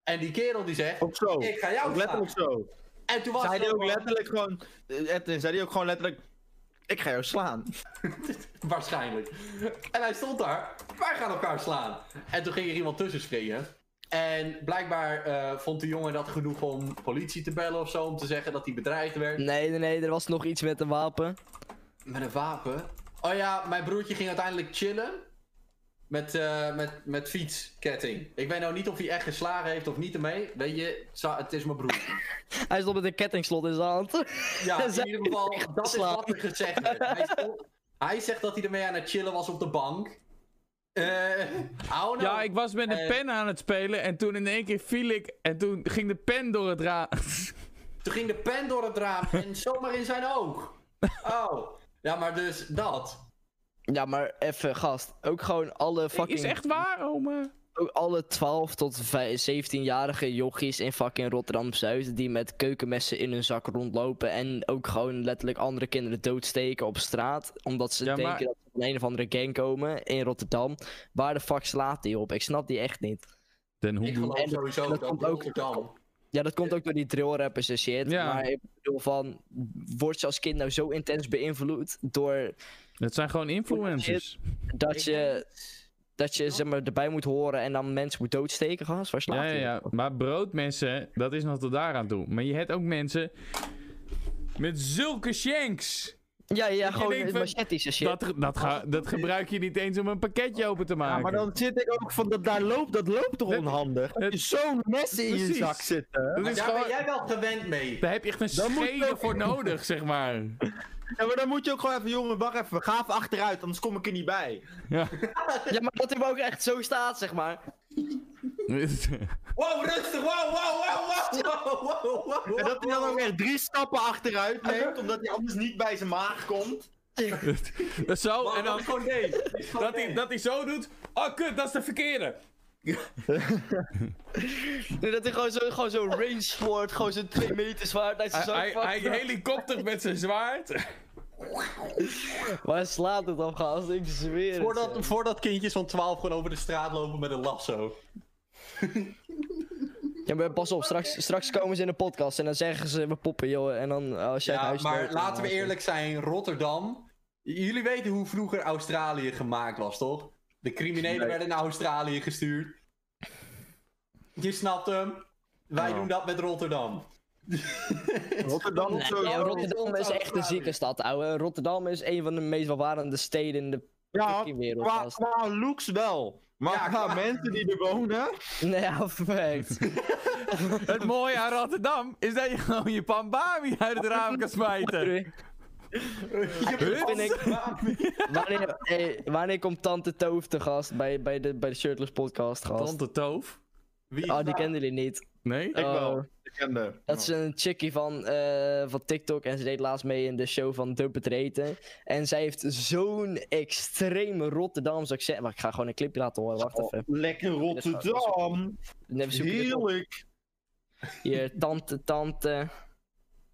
D: En die kerel die zegt...
E: Ook zo.
D: Ik ga jou
E: Oh. Ook
D: slaan.
E: letterlijk zo.
D: En toen was
E: Zei
D: het
E: hij ook
D: gewoon-
E: letterlijk gewoon... eh, Edwin, zei hij ook gewoon letterlijk... Ik ga jou slaan.
D: Waarschijnlijk. En hij stond daar. Wij gaan elkaar slaan. En toen ging er iemand tussen springen. En blijkbaar eh, vond de jongen dat genoeg om politie te bellen of zo. Om te zeggen dat hij bedreigd werd.
C: Nee, nee, nee, er was nog iets met een wapen.
D: Met een wapen. Oh ja, mijn broertje ging uiteindelijk chillen. Met, eh, met, met fietsketting. Ik weet nou niet of hij echt geslagen heeft of niet ermee. Weet je, za- het is mijn broer.
C: Hij stond met een kettingslot in zijn hand.
D: Ja, in
C: Zij
D: ieder geval,
C: heeft
D: dat is
C: geslagen.
D: wat er gezegd werd. Hij, stond- hij zegt dat hij ermee aan het chillen was op de bank. Eh, oh no.
B: Ja, ik was met een
D: Eh.
B: pen aan het spelen en toen in één keer viel ik en toen ging de pen door het raam.
D: Toen ging de pen door het raam en zomaar in zijn oog. Oh. Ja, maar dus dat.
C: Ja, maar even, gast. Ook gewoon alle fucking...
B: Is echt waar, oma?
C: Ook alle 12 tot vij- 17-jarige jochies in fucking Rotterdam-Zuid... die met keukenmessen in hun zak rondlopen... en ook gewoon letterlijk andere kinderen doodsteken op straat... omdat ze
B: Ja,
C: denken
B: maar-
C: dat ze van een of andere gang komen in Rotterdam. Waar de fuck slaat die op? Ik snap die echt niet.
B: Den
D: Ik
B: Hoendoe.
D: geloof
C: En dat-
D: sowieso
C: dat
D: dat,
C: komt ook-
D: Rotterdam.
C: Ja, dat komt ook door die drillrappers en shit.
B: Ja.
C: Maar ik bedoel van, word je als kind nou zo intens beïnvloed door
B: Dat zijn gewoon influencers.
C: dat je, dat je zeg maar, erbij moet horen en dan mensen moet doodsteken, gast? Waar slaat
B: Ja, ja,
C: die
B: ja.
C: op?
B: Maar broodmensen, dat is nog tot daar aan toe. Maar je hebt ook mensen met zulke shanks.
C: ja, ja,
B: je denkt
C: gewoon
B: van-
C: machettes en shit.
B: Dat, ge- dat, ga, dat gebruik je niet eens om een pakketje open te maken.
E: Ja, maar dan zit ik ook van... Dat, daar loopt, dat loopt toch
B: Het-
E: onhandig? Dat je
B: het-
E: zo'n messen in je
B: Precies.
E: zak zitten.
B: dat
D: Maar
B: is
D: daar
B: gewoon,
D: ben jij wel gewend mee.
B: daar heb je echt een
E: Dan moet je
B: schede
E: ook-
B: voor nodig, zeg maar.
E: Ja, maar dan moet je ook gewoon even... Jongen, wacht even. Ga even achteruit, anders kom ik er niet bij.
C: Ja, maar dat hem ook echt zo staat, zeg maar.
D: Wow, rustig, wow, wow, wow, wow, wow, wow, wow.
E: En dat hij dan ook echt drie stappen achteruit neemt, omdat hij anders niet bij zijn maag komt.
B: zo,
D: Wow,
B: en dan
D: dat is gewoon deze. Dat is gewoon
B: dat hij,
D: deze.
B: dat hij zo doet. Oh, kut, dat is de verkeerde.
C: Nee, dat hij gewoon zo'n gewoon zo range wordt, gewoon zo'n 2 meter zwaard uit zijn
B: Hij,
C: zak
B: hij, hij
C: pakt.
B: helikoptert met zijn zwaard.
C: Waar slaat het op, gast? Ik zweer het.
D: Voordat, voordat kindjes van 12 gewoon over de straat lopen met een lasso.
C: Ja, maar pas op, straks, straks komen ze in de podcast en dan zeggen ze, we poppen, joh. En dan, eh, als jij het
D: Ja,
C: huis
D: maar
C: loopt,
D: laten we
C: dan-
D: eerlijk zijn, Rotterdam. J- Jullie weten hoe vroeger Australië gemaakt was, toch? De criminelen werden naar Australië gestuurd. Je snapt hem. Wij doen dat met Rotterdam.
E: Rotterdam
C: Nee,
E: zo.
C: ja,
E: Ja,
C: Rotterdam is echt een
D: Australië.
C: zieke stad, ouwe. Rotterdam is een van de meest welvarende steden in de fucking wereld.
E: qua,
C: gast.
E: qua looks wel. Maar
D: Ja,
E: qua
D: qua-
E: mensen die er wonen...
C: Nee, ja, perfect.
B: Het mooie aan Rotterdam is dat je gewoon je pambami uit het raam kan smijten.
C: Dit vind ik- wanneer, hey, wanneer komt Tante Toof te gast bij, bij de, bij de Shirtless podcast, gast?
B: Tante Toof.
A: Wie?
E: Ah,
C: Oh, die kenden jullie niet.
B: Nee?
A: Ik wel.
C: Oh,
A: Ik kende.
C: Dat is een chickie van, eh, van TikTok en ze deed laatst mee in de show van Dope Het Reten. En zij heeft zo'n extreem Rotterdams accent. Wacht, ik ga gewoon een clipje laten horen. Wacht even.
E: Lekker Rotterdam.
C: Neem zoek ik het op.
E: Heerlijk.
C: Hier, tante, tante.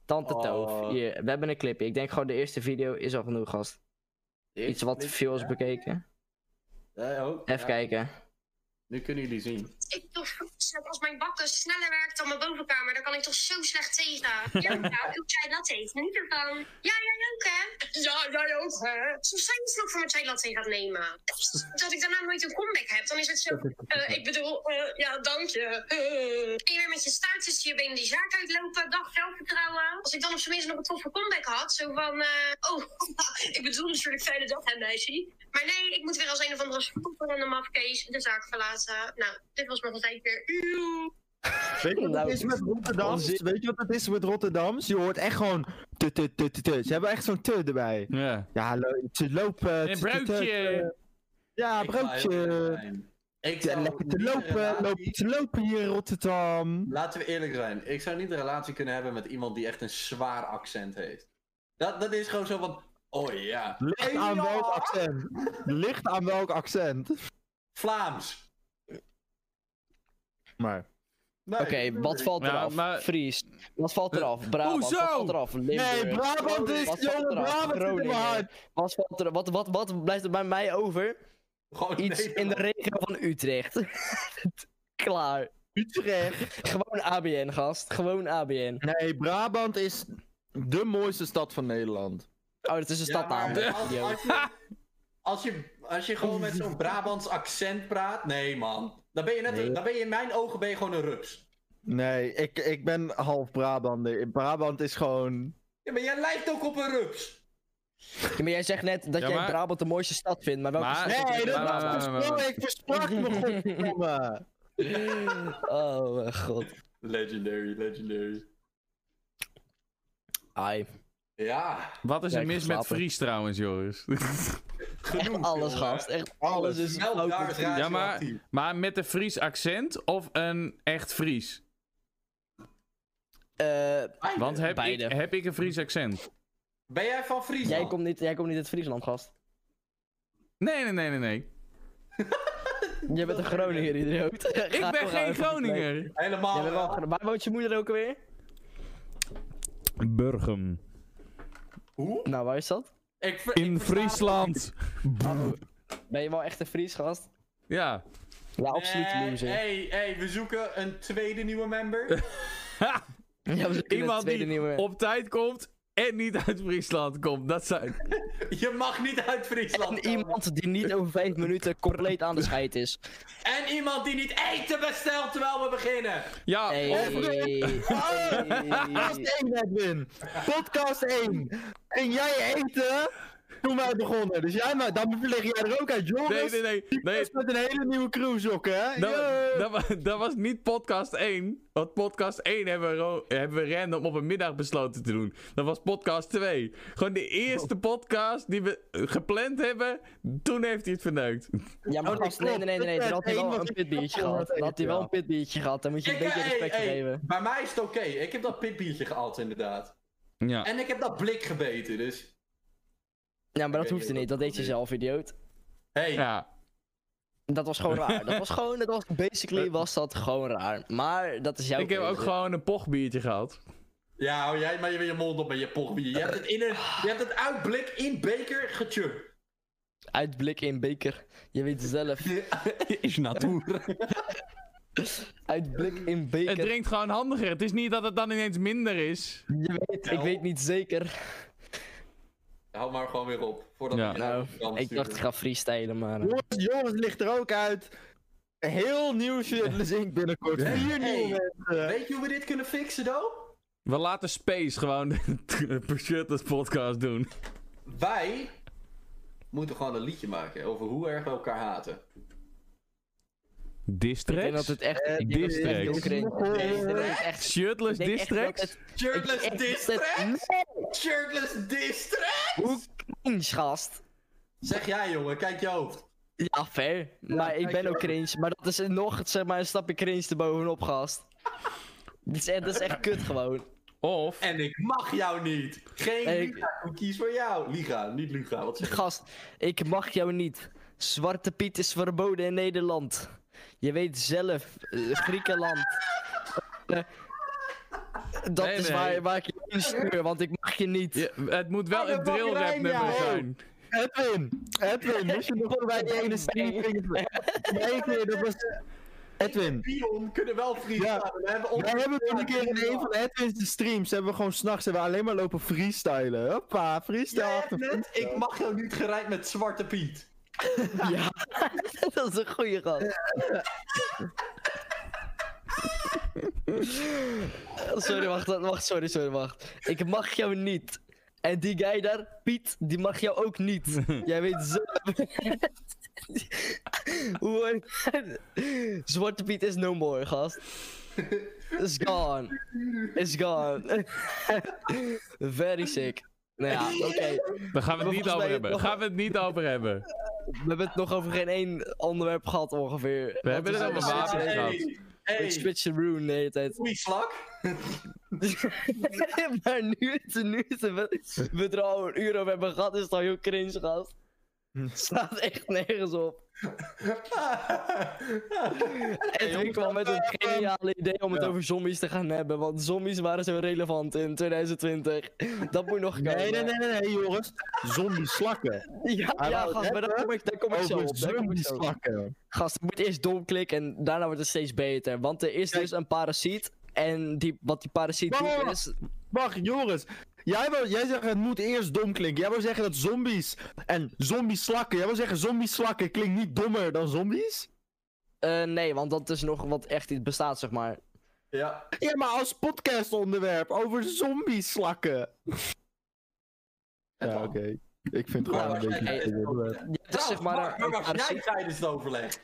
C: Tante
D: Oh.
C: Toof. Hier, we hebben een clipje. Ik denk gewoon de eerste video is al genoeg, gast. Iets wat veel is bekeken.
D: Eh, oh,
C: Even
D: ja,
C: kijken.
D: Nu kunnen jullie zien.
F: ik toch, als mijn bakken sneller werkt dan mijn bovenkamer, dan kan ik toch zo slecht tegen. Ja, nou, hoe jij dat eten? Niet ervan. Ja, jij ook, hè? Ja, jij ook, hè? Soms zijn ze nog voor mijn latte gaat nemen. Dat ik daarna nooit een comeback heb, dan is het zo. eh, ik bedoel, eh, ja, dank je. Eh. Kun je weer met je staart tussen je benen die zaak uitlopen? Dag zelfvertrouwen. Als ik dan op zijn minst nog een toffe comeback had, zo van. eh, oh, ik bedoel natuurlijk fijne dag, hè, meisje. Maar nee, ik moet weer als een of andere spoeper en de mafkees de zaak verlaten. Nou, dit was nog een tijdje weer. Eeuw.
E: Weet je wat
C: Nou,
E: het is met Rotterdams? Weet je wat het is met Rotterdams? Je hoort echt gewoon te te te te te. Ze hebben echt zo'n te erbij.
B: Ja.
E: Ja, lo- ze lopen. te-
B: Een
E: te- te-
B: broodje!
E: Ja,
D: Ik wou heel
E: broodje.
D: eerlijk zijn. Ik
E: Ja,
D: zou
E: lekker te
D: niet een
E: lopen,
D: relatie-
E: lopen te lopen hier in Rotterdam.
D: Laten we eerlijk zijn. Ik zou niet een relatie kunnen hebben met iemand die echt een zwaar accent heeft. Dat, dat is gewoon zo van. Oh ja.
E: Ligt
D: Hey,
E: aan
D: ja.
E: welk accent? Ligt aan welk accent?
D: Vlaams.
E: Maar.
D: Nee,
C: Oké, wat valt
B: Ja,
C: eraf?
B: maar-
C: Fries. Wat valt eraf? Brabant.
B: hoezo?
C: Wat valt eraf? Limburg.
E: Eh, Nee, Brabant is,
C: Wat
E: jongen,
C: valt eraf?
E: Brabant is in mijn
C: Groningen.
E: hart.
C: Wat, valt er, wat, wat, wat blijft er bij mij over?
D: Gewoon
C: Iets in de
D: Nederland.
C: regio van Utrecht. Klaar.
E: Utrecht.
C: Gewoon ABN, gast. Gewoon ABN.
E: Nee, Brabant is de mooiste stad van Nederland.
C: Oh, dat is een
D: Ja,
C: stadnaam.
D: maar
C: hè?
D: als-
C: Yo.
D: als je- Als je, als je gewoon met zo'n Brabants accent praat, nee man. Dan ben je, net,
C: Nee.
D: dan ben je in mijn ogen ben je gewoon een rups.
E: Nee, ik, ik ben half Brabander. Brabant is gewoon.
D: Ja, maar jij lijkt ook op een rups.
C: Ja, maar jij zegt net dat
B: Ja,
C: jij
B: maar-
C: Brabant de mooiste stad vindt, maar welke
B: Maar-
C: stad
E: Nee,
C: is
E: dat
B: Maar-
E: was
B: maar-
C: Brabant?
E: een
B: maar-
E: spel. Ik versprak me godverdomme.
C: Oh, mijn god.
D: Legendary, legendary.
C: Ai.
D: Ja,
B: Wat is
C: Ja,
B: er
C: ik
B: mis met
C: geslapen.
B: Fries trouwens, Joris?
D: genoeg.
C: Alles,
D: jongen.
C: gast. Echt alles is
D: Elk
C: fout.
D: daar is
B: Ja, maar,
D: radioactief.
B: maar met een Fries accent of een echt Fries?
C: Eh,
B: Want heb, ik,
C: Beide.
B: heb ik een Fries accent?
D: Ben jij van
C: jij,
D: Friesland?
C: komt niet, jij komt niet uit Friesland, gast.
B: Nee, nee, nee, nee, nee.
C: Jij bent een Groninger, idioot.
B: Ik ben geen Groninger.
D: Helemaal.
C: Jij bent wel Gro- Waar woont je moeder ook alweer?
B: Burgum.
D: Hoe?
C: Nou, waar is dat?
D: Ik ver-
B: In
D: ik versta-
B: Friesland.
C: Ben je wel echt een Fries, gast?
B: Ja.
C: Ja, absoluut
D: Eh,
C: loser.
D: hey, hey, we zoeken een tweede nieuwe member.
C: Ja, we zoeken een
B: Iemand
C: tweede
B: die
C: nieuwe-
B: op tijd komt en niet uit Friesland komt. Dat zijn...
D: Je mag niet uit Friesland.
C: En
D: komen.
C: iemand die niet over vijf minuten compleet aan de scheid is.
B: Oh.
D: En iemand die niet eten bestelt terwijl we beginnen.
B: Ja,
C: Hey.
B: of- Oh.
E: Podcast 1, Edwin. Podcast 1. En jij eten toen wij begonnen. Dus jij, maar dan lig jij er ook uit, jongens.
B: Nee, nee, nee. nee. Nou,
E: Dat is met een hele nieuwe crew jokken, hè?
B: Dat,
E: Yo.
B: dat, wa- dat was niet podcast 1. Want podcast 1 hebben we, ro- hebben we random op een middag besloten te doen. Dat was podcast 2. Gewoon de eerste podcast die we eh, gepland hebben. Toen heeft hij het verneukt.
C: Ja, maar
E: Oh, dat
C: gast, nee, nee,
E: klopt.
C: nee, nee. Dan had hij
E: Dat
C: wel
E: was één
C: een
E: wat ik
C: pitbiertje gehad.
E: had
C: Dan had hij wel een pitbiertje gehad. Dan moet je een
D: Ik-
C: beetje
D: hey,
C: respect
D: hey,
C: geven.
D: Bij mij is het oké. Ik heb dat pitbiertje gehaald, inderdaad.
B: Ja.
D: En ik heb dat blik gebeten, dus.
C: Ja, maar dat
D: weet
C: hoefde
D: niet,
C: niet. Dat
D: dat
C: deed je
D: niet.
C: zelf, idioot.
D: Hey,
B: Ja.
C: Dat was gewoon raar. Dat was gewoon, dat was, basically was dat gewoon raar. Maar dat is jouw
B: Ik heb ook
C: keuze.
B: gewoon een pochbiertje gehad.
D: ja, hou jij maar weer je mond op met je pochbier. Je hebt het, in een, je hebt het uitblik in beker gechukt.
C: Uitblik in beker. Je weet zelf.
D: Is natuur.
C: Uitblik in
B: Het
C: beker.
B: drinkt gewoon handiger. Het is niet dat het dan ineens minder is.
C: Je weet, ik weet niet zeker.
D: Hou maar gewoon weer op. Voordat
B: Ja.
D: ik je naar
C: Nou,
D: de kant
C: ik
D: stuur.
C: dacht ik ga freestylen, maar... eh,
E: Jongens, Joris ligt er ook uit. Heel nieuw shit dus ik binnenkort. Vier nieuwe mensen.
D: Weet je hoe we dit kunnen fixen, do?
B: We laten Space gewoon de Pushutters podcast doen.
D: Wij moeten gewoon een liedje maken over hoe erg we elkaar haten.
C: Ik denk dat
B: Districts?
C: het echt... ik denk dat het echt heel
B: Districts.
C: cringe-
E: Goh.
C: ik denk dat het echt- ik
B: Shirtless
C: denk echt dat
B: districts?
C: het-
D: Shirtless
C: Ik- ik-
D: district? Shirtless district?
C: Hoe cringe, gast.
D: Zeg jij, jongen, kijk je hoofd.
C: Ja, fair. Maar ik
E: kijk
C: ben
E: je
C: ook cringe. Maar dat is nog zeg maar, een stapje cringe erbovenop, gast. dat, is echt, dat is echt kut gewoon.
B: Of,
D: En ik mag jou niet. Geen
C: Nee, ik-
D: Liga, ik kies voor jou. Liga, niet Luga. Wat zeg ik?
C: Gast, ik mag jou niet. Zwarte Piet is verboden in Nederland. Je weet zelf, eh, Griekenland. Eh, Dat
B: Nee,
C: is
B: nee.
C: Waar, waar ik je in stuur, want ik mag je niet.
B: je- het moet wel een drill rap nummer zijn.
E: Edwin! Edwin, moest je nog bij die ene streaming? Nee, nee, dat was... Edwin,
D: Pion kunnen wel freestylen.
E: Ja.
D: We hebben
E: wij hebben toen een keer in een van
D: de
E: Edwin's streams, hebben we gewoon s'nachts alleen maar lopen freestylen. Hoppa, freestyle.
D: net, ik mag jou niet gerijpt met Zwarte Piet.
C: Ja, dat is een goeie gast. sorry, wacht, wacht, sorry, sorry, wacht. Ik mag jou niet. En die guy daar, Piet, die mag jou ook niet. Jij weet zo. Hoe- Zwarte Piet is no more, gast. Is gone. Is gone. Very sick. Nou ja, oké.
B: Daar gaan we het niet
C: Maar volgens
B: over
C: mij-
B: hebben. Gaan we het niet over hebben.
C: We hebben het nog over geen één onderwerp gehad ongeveer.
B: We hebben het
C: is
B: over wapens
C: steeds-
B: gehad.
D: Hey,
C: Ik switch the room de hele tijd.
D: goeie slak.
C: maar nu het, nu het, we, we er al een uur over hebben gehad, is het al heel cringe, gast. Het slaat echt nergens op. En ik kwam met het geniale idee om het over zombies te gaan hebben, want zombies waren zo relevant in 2020. Dat moet nog komen.
E: Nee, nee, nee, nee, nee, jongens. Zombie slakken.
C: Ja,
E: Hij
C: ja
E: wou het
C: gast, maar daar
E: hebben
C: kom ik, daar kom ik zo
E: Over
C: op. Daar kom
E: zombie
C: ik zo op.
E: slakken.
C: Gast, je moet eerst domklikken en daarna wordt het steeds beter. Want er is dus een parasiet. En die, wat die parasiet
E: Wacht,
C: doet
E: wacht,
C: is...
E: Wacht, Joris. Jij, wou, jij zegt het moet eerst dom klinken. Jij wil zeggen dat zombies en zombie slakken. Jij wil zeggen zombie slakken klinkt niet dommer dan zombies?
C: eh, nee, want dat is nog wat echt iets bestaat, zeg maar.
D: Ja,
E: Ja, maar als podcastonderwerp over zombie slakken. Ja, oké. Ik vind het gewoon
C: Ja,
E: een beetje.
C: oké.
E: een onderwerp.
C: Ja, het is zeg maar
D: Nou, Mark,
C: een- een
D: waar was jij
C: parasiet.
D: tijdens het overleg?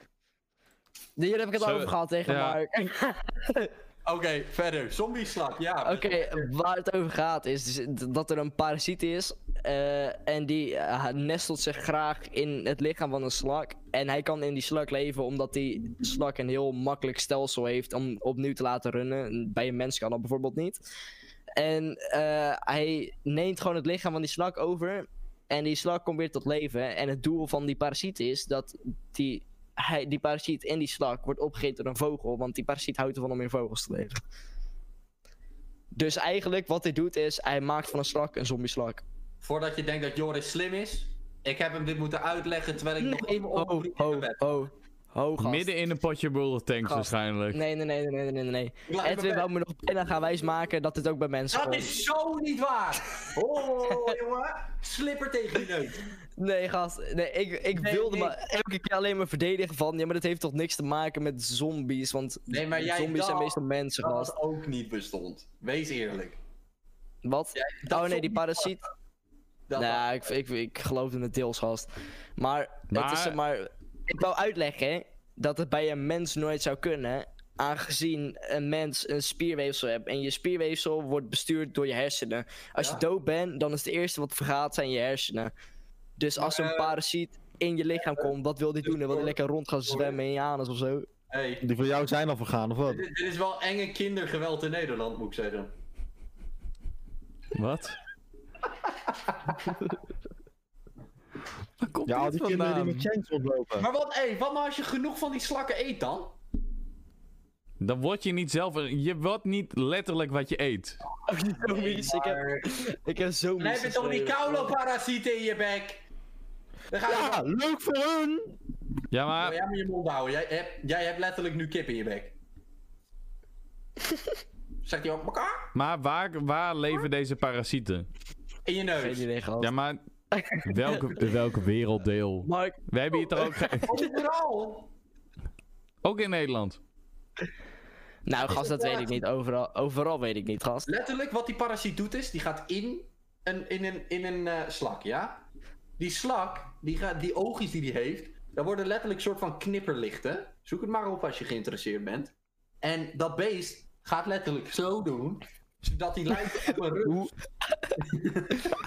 C: Hier heb ik het al
B: Zo-
C: over gehad tegen
B: ja.
C: Mark.
D: Oké, verder. Zombieslak, ja.
C: Oké, waar het over gaat is dus d- dat er een parasiet is. eh, en die eh, nestelt zich graag in het lichaam van een slak. En hij kan in die slak leven omdat die slak een heel makkelijk stelsel heeft om opnieuw te laten runnen. En Bij een mens kan dat bijvoorbeeld niet. En eh, hij neemt gewoon het lichaam van die slak over. En die slak komt weer tot leven. En het doel van die parasiet is dat die, hij, die parasiet in die slak wordt opgegeten door een vogel. Want die parasiet houdt ervan om in vogels te leven. Dus eigenlijk wat hij doet is, hij maakt van een slak een zombieslak.
D: Voordat je denkt dat Joris slim is, ik heb hem dit moeten uitleggen terwijl ik nog in mijn
C: ho,
D: ogen
C: ho, ho, ho, gast.
B: Midden in een potje World of Tanks
C: Gast.
B: waarschijnlijk.
C: Nee, nee, nee, nee, nee, nee, nee, nee.
D: Ik laat
C: Edwin
D: me
C: wou me nog bijna gaan wijsmaken dat dit ook bij mensen
D: Dat
C: komt.
D: is zo niet waar! Oh, jongen. Slipper tegen die neus.
C: Nee, gast. Nee, ik, ik
D: Nee,
C: wilde
D: nee.
C: maar elke keer alleen maar verdedigen van, ja, maar dat heeft toch niks te maken met zombies, want
D: Nee, maar jij
C: zombies zijn
D: dacht
C: meestal mensen,
D: Dat
C: gast.
D: dat ook niet bestond. Wees eerlijk.
C: Wat?
D: dat
C: oh nee, die
D: zombie-
C: parasiet.
D: Dat
C: Nou, ik, ik, ik geloof in het deels, gast. Maar, het
B: Maar-
C: is zeg maar... Ik wou uitleggen dat het bij een mens nooit zou kunnen... aangezien een mens een spierweefsel heeft. En je spierweefsel wordt bestuurd door je hersenen. Als
D: Ja.
C: je dood bent, dan is het eerste wat vergaat zijn je hersenen. Dus als een
D: Eh,
C: parasiet in je lichaam komt, wat wil die doen? Dan wil die
D: sorry,
C: lekker rond gaan
D: sorry.
C: zwemmen in je anus of zo.
D: Hey,
C: eh,
E: Die van jou zijn al vergaan, of wat?
D: dit, dit is wel enge kindergeweld in Nederland, moet ik zeggen.
B: Wat? Waar komt
E: Ja, al die
B: dit
E: kinderen die
B: vandaan?
E: met chains oplopen.
D: Maar wat, hey, wat nou als je genoeg van die slakken eet dan?
B: Dan word je niet zelf... Je wordt niet letterlijk wat je eet.
C: Oh, die zombies, ik heb,
D: Maar-
C: ik heb zo
D: Dan heb je toch die kouloparasieten in je bek? Dan ga je Oh,
E: Ja, leuk voor hun!
B: Ja, maar...
D: Jij moet je mond houden. Jij hebt, jij hebt letterlijk nu kip in je bek. Zegt hij ook elkaar?
B: Maar waar, waar leven deze parasieten?
D: In je
C: Geen
D: neus.
C: idee, gast.
B: Ja, maar welke, welke werelddeel?
C: Mark,
B: We hebben hier toch ook... ge-
D: Overal.
B: Ook in Nederland.
C: nou gast, dat weet ik
D: plaats?
C: niet. Overal, overal weet ik niet, gast.
D: Letterlijk wat die parasiet doet is, die gaat in een, in een, in een eh, slak, ja? Die slak, die, gaat, die oogjes die die heeft, daar worden letterlijk soort van knipperlichten. Zoek het maar op als je geïnteresseerd bent. En dat beest gaat letterlijk zo doen, zodat hij lijkt op een rug.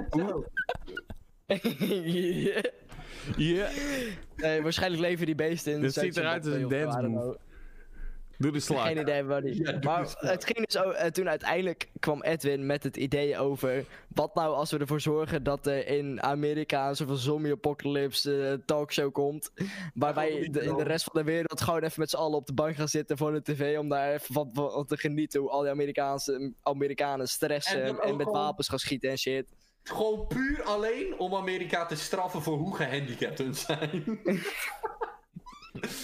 C: Hoe?
B: Ja.
C: Nee, waarschijnlijk leven die beesten in.
B: Dit
C: Zuid-
B: ziet eruit als een
C: Zimbabwe of
B: dance
C: I don't
B: move.
C: know.
B: Doe de slag.
C: Geen idee waar die. maar het ging dus o- eh, toen uiteindelijk kwam Edwin met het idee over. Wat nou als we ervoor zorgen dat er in Amerika een soort van zombie-apocalypse eh, talkshow komt. Waar wij de- in de rest van de wereld gewoon even met z'n allen op de bank gaan zitten voor de tv. Om daar even van, van te genieten hoe al die Amerikaanse, Amerikanen stressen
D: En dan
C: en,
D: ook
C: met
D: gewoon-
C: wapens gaan schieten en shit.
D: Gewoon puur alleen om Amerika te straffen voor hoe gehandicapt hun zijn.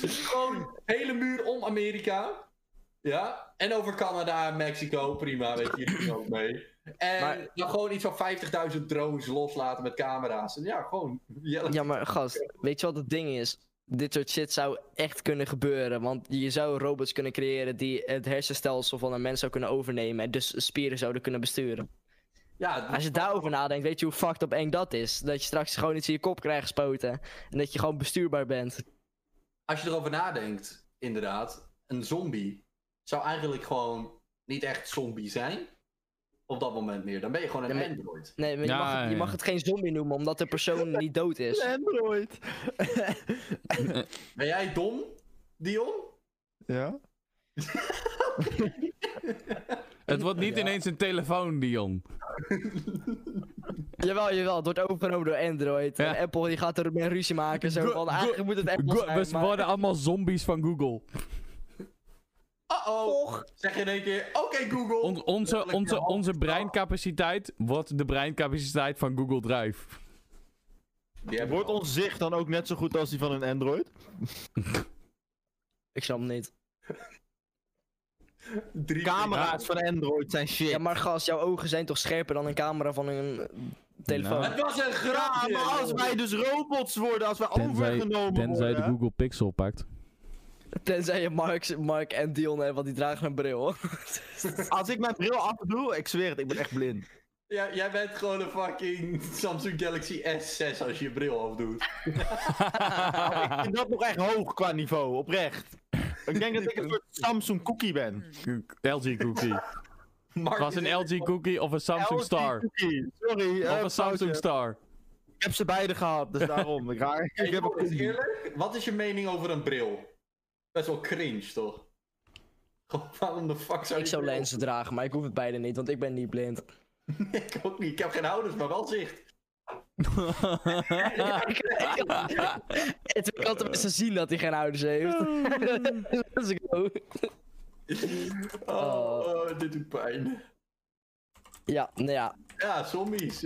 D: Gewoon hele muur om Amerika. Ja, en over Canada en Mexico, prima, weet je jullie ook mee. En
C: Maar-
D: dan gewoon iets van 50.000 drones loslaten met camera's. En ja, gewoon... Jelle-
C: Ja, maar gast, weet je wat het ding is? Dit soort shit zou echt kunnen gebeuren. Want je zou robots kunnen creëren die het hersenstelsel van een mens zou kunnen overnemen. En dus spieren zouden kunnen besturen.
D: ja,
C: Als je daarover nadenkt, weet je hoe fucked up eng dat is? Dat je straks gewoon iets in je kop krijgt gespoten. En dat je gewoon bestuurbaar bent.
D: als je erover nadenkt, inderdaad, een zombie zou eigenlijk gewoon niet echt zombie zijn. Op dat moment meer. Dan ben je gewoon een
C: Ja, maar-
D: android.
C: Nee, maar je,
B: Ja,
C: mag het, je
B: ja.
C: mag het geen zombie noemen, omdat de persoon niet dood is.
E: Android.
D: Ben jij dom, Dion?
E: ja?
B: Het wordt niet ineens een telefoon, Dion.
C: Jawel, jawel, het wordt overgenomen door Android.
B: Ja.
C: En Apple die gaat er een ruzie maken. Zo
B: Go-
C: van,
B: go-
C: eigenlijk moet het Apple
B: Go-
C: zijn.
B: we
C: maar-
B: worden allemaal zombies van Google.
D: Uh-oh. Zeg in één keer, oké Google.
B: On- onze, onze, onze breincapaciteit wordt de breincapaciteit van Google Drive.
D: Die hebben
E: Wordt
D: we al.
E: ons zicht dan ook net zo goed als die van een Android?
C: Ik snap het niet.
D: drie
E: Camera's van Android zijn shit.
C: Ja, maar gast, jouw ogen zijn toch scherper dan een camera van een eh, telefoon?
B: Nou.
D: Het was een grapje.
E: Ja, maar als wij dus robots worden, als wij overgenomen worden.
B: Google Pixel pakt.
C: Tenzij je Mark, Mark en Dion hebt, want die dragen een bril.
E: Als ik mijn bril afdoe, ik zweer het, ik ben echt blind.
D: Ja, jij bent gewoon een fucking Samsung Galaxy S6 als je je bril afdoet.
E: Ik vind dat nog echt hoog qua niveau, oprecht. Ik denk dat ik een soort Samsung cookie ben.
B: LG Cookie.
D: Mark
B: Het was
D: is
B: een
D: echt-
B: LG Cookie of een Samsung
E: LG
B: Star.
E: Cookie. Sorry, eh,
B: Of een
E: foutje.
B: Samsung Star.
E: Ik heb ze beide gehad, dus daarom. Ik, raar. ik heb een
D: Jongens,
E: cookie.
D: eerlijk, wat is je mening over een bril? Best wel cringe, toch? Gewoon, Waarom de fuck zou
C: ik
D: je
C: zou
D: bril-
C: lenzen dragen, maar ik hoef het beide niet, want ik ben niet blind.
D: Ik ook niet. Ik heb geen ouders, maar wel zicht.
C: Het kan tenminste zien dat hij geen ouders heeft. Let's go.
D: Oh,
C: Oh.
D: oh, dit doet pijn.
C: Ja, nou ja.
D: Ja, zombies.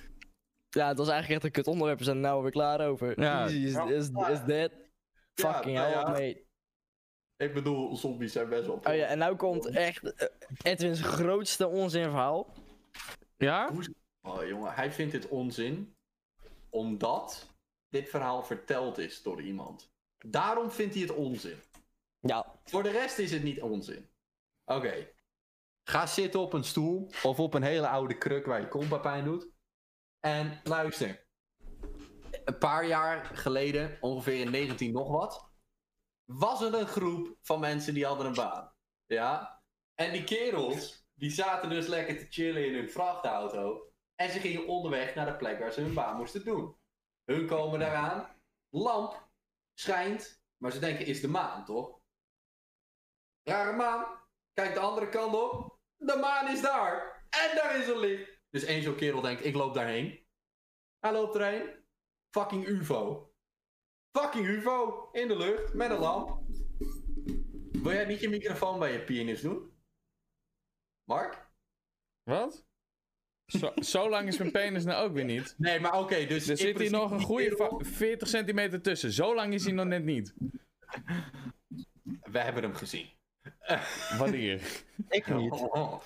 C: ja, het was eigenlijk echt een kut onderwerp. We zijn er nou alweer klaar over.
B: Ja.
C: Easy Is, is, is that?
D: Ja,
C: Fucking
D: nou
C: hell,
D: ja.
C: mate.
D: ik bedoel, zombies zijn best wel...
C: Oh ja, en nou komt echt eh, Edwin's grootste onzinverhaal.
B: Ja?
D: Oh jongen, hij vindt dit onzin. Omdat dit verhaal verteld is door iemand. Daarom vindt hij het onzin.
C: Ja,
D: Voor de rest is het niet onzin. Oké. Ga zitten op een stoel of op een hele oude kruk waar je kompa pijn doet. En luister. Een paar jaar geleden, ongeveer in 19 nog wat, was er een groep van mensen die hadden een baan. Ja? En die kerels, die zaten dus lekker te chillen in hun vrachtauto. En ze gingen onderweg naar de plek waar ze hun baan moesten doen. Hun komen daaraan. Lamp schijnt, maar ze denken is de maan, toch? Rare maan. Kijk de andere kant op. De maan is daar. En daar is een licht. Dus één zo'n kerel denkt, ik loop daarheen. Hij loopt erheen. Fucking UFO. Fucking UFO. In de lucht. Met een lamp. Wil jij niet je microfoon bij je pianist doen? Mark?
B: Wat? Zo, zo lang is mijn penis nou ook weer niet.
D: Nee, maar oké. dus
B: Er
D: in
B: zit hier
D: principe
B: nog een
D: die
B: goede
D: kerel-
B: va- 40 centimeter tussen. Zo lang is hij nog net niet.
D: We hebben hem gezien.
B: Wanneer?
E: Ik niet.
D: Oh, oh.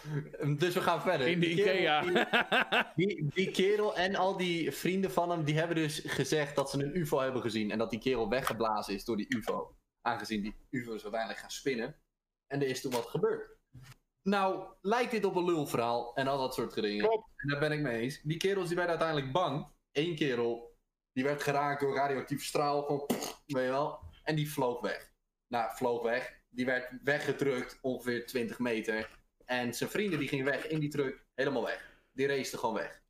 D: Dus we gaan verder.
B: In de
D: Die kerel
B: Ikea.
D: die- Die, die kerel en al die vrienden van hem, die hebben dus gezegd dat ze een UFO hebben gezien. En dat die kerel weggeblazen is door die UFO. Aangezien die UFO's uiteindelijk gaan spinnen. En er is toen wat gebeurd. Nou, lijkt dit op een lulverhaal en al dat soort dingen.
E: Klopt.
D: En daar ben ik mee eens. Die kerels die werden uiteindelijk bang. Eén kerel, die werd geraakt door radioactief straal. Gewoon, pff, weet je wel. En die vloog weg. Nou, vloog weg. Die werd weggedrukt, ongeveer 20 meter. En zijn vrienden die gingen weg in die truck, helemaal weg. Die racen gewoon weg.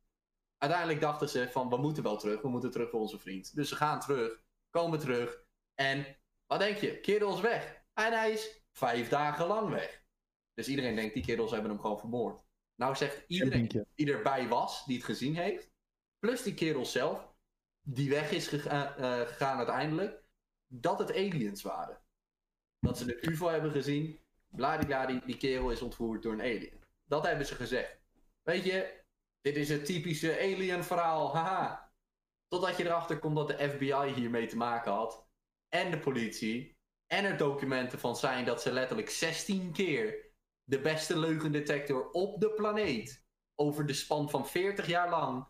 D: Uiteindelijk dachten ze van, we moeten wel terug. We moeten terug voor onze vriend. Dus ze gaan terug, komen terug. En wat denk je? Kerel is weg. En hij is vijf dagen lang weg. Dus iedereen denkt, die kerels hebben hem gewoon vermoord. Nou zegt iedereen
E: Pinkje.
D: die erbij was, die het gezien heeft. Plus die kerel zelf, die weg is gega- eh, gegaan uiteindelijk. Dat het aliens waren. Dat ze de UFO hebben gezien. Bladibla, die kerel is ontvoerd door een alien. Dat hebben ze gezegd. Weet je, dit is het typische alien verhaal, haha. Totdat je erachter komt dat de FBI hiermee te maken had. En de politie. En er documenten van zijn dat ze letterlijk 16 keer de beste leugendetector op de planeet over de span van 40 jaar lang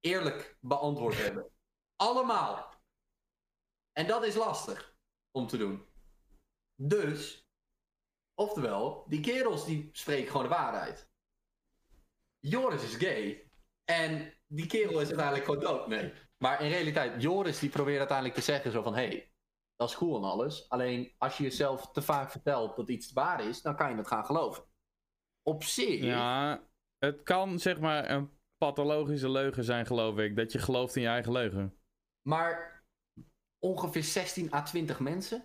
D: eerlijk beantwoord hebben. Allemaal. En dat is lastig om te doen. Dus, oftewel, die kerels die spreken gewoon de waarheid. Joris is gay. En die kerel is uiteindelijk gewoon dood. Nee. Maar in realiteit, Joris die probeert uiteindelijk te zeggen zo van... Hé, hey, dat is cool en alles. Alleen als je jezelf te vaak vertelt dat iets waar is... dan kan je het gaan geloven. Op zich...
B: Ja, het kan zeg maar een pathologische leugen zijn, geloof ik. Dat je gelooft in je eigen leugen.
D: Maar ongeveer 16 à 20 mensen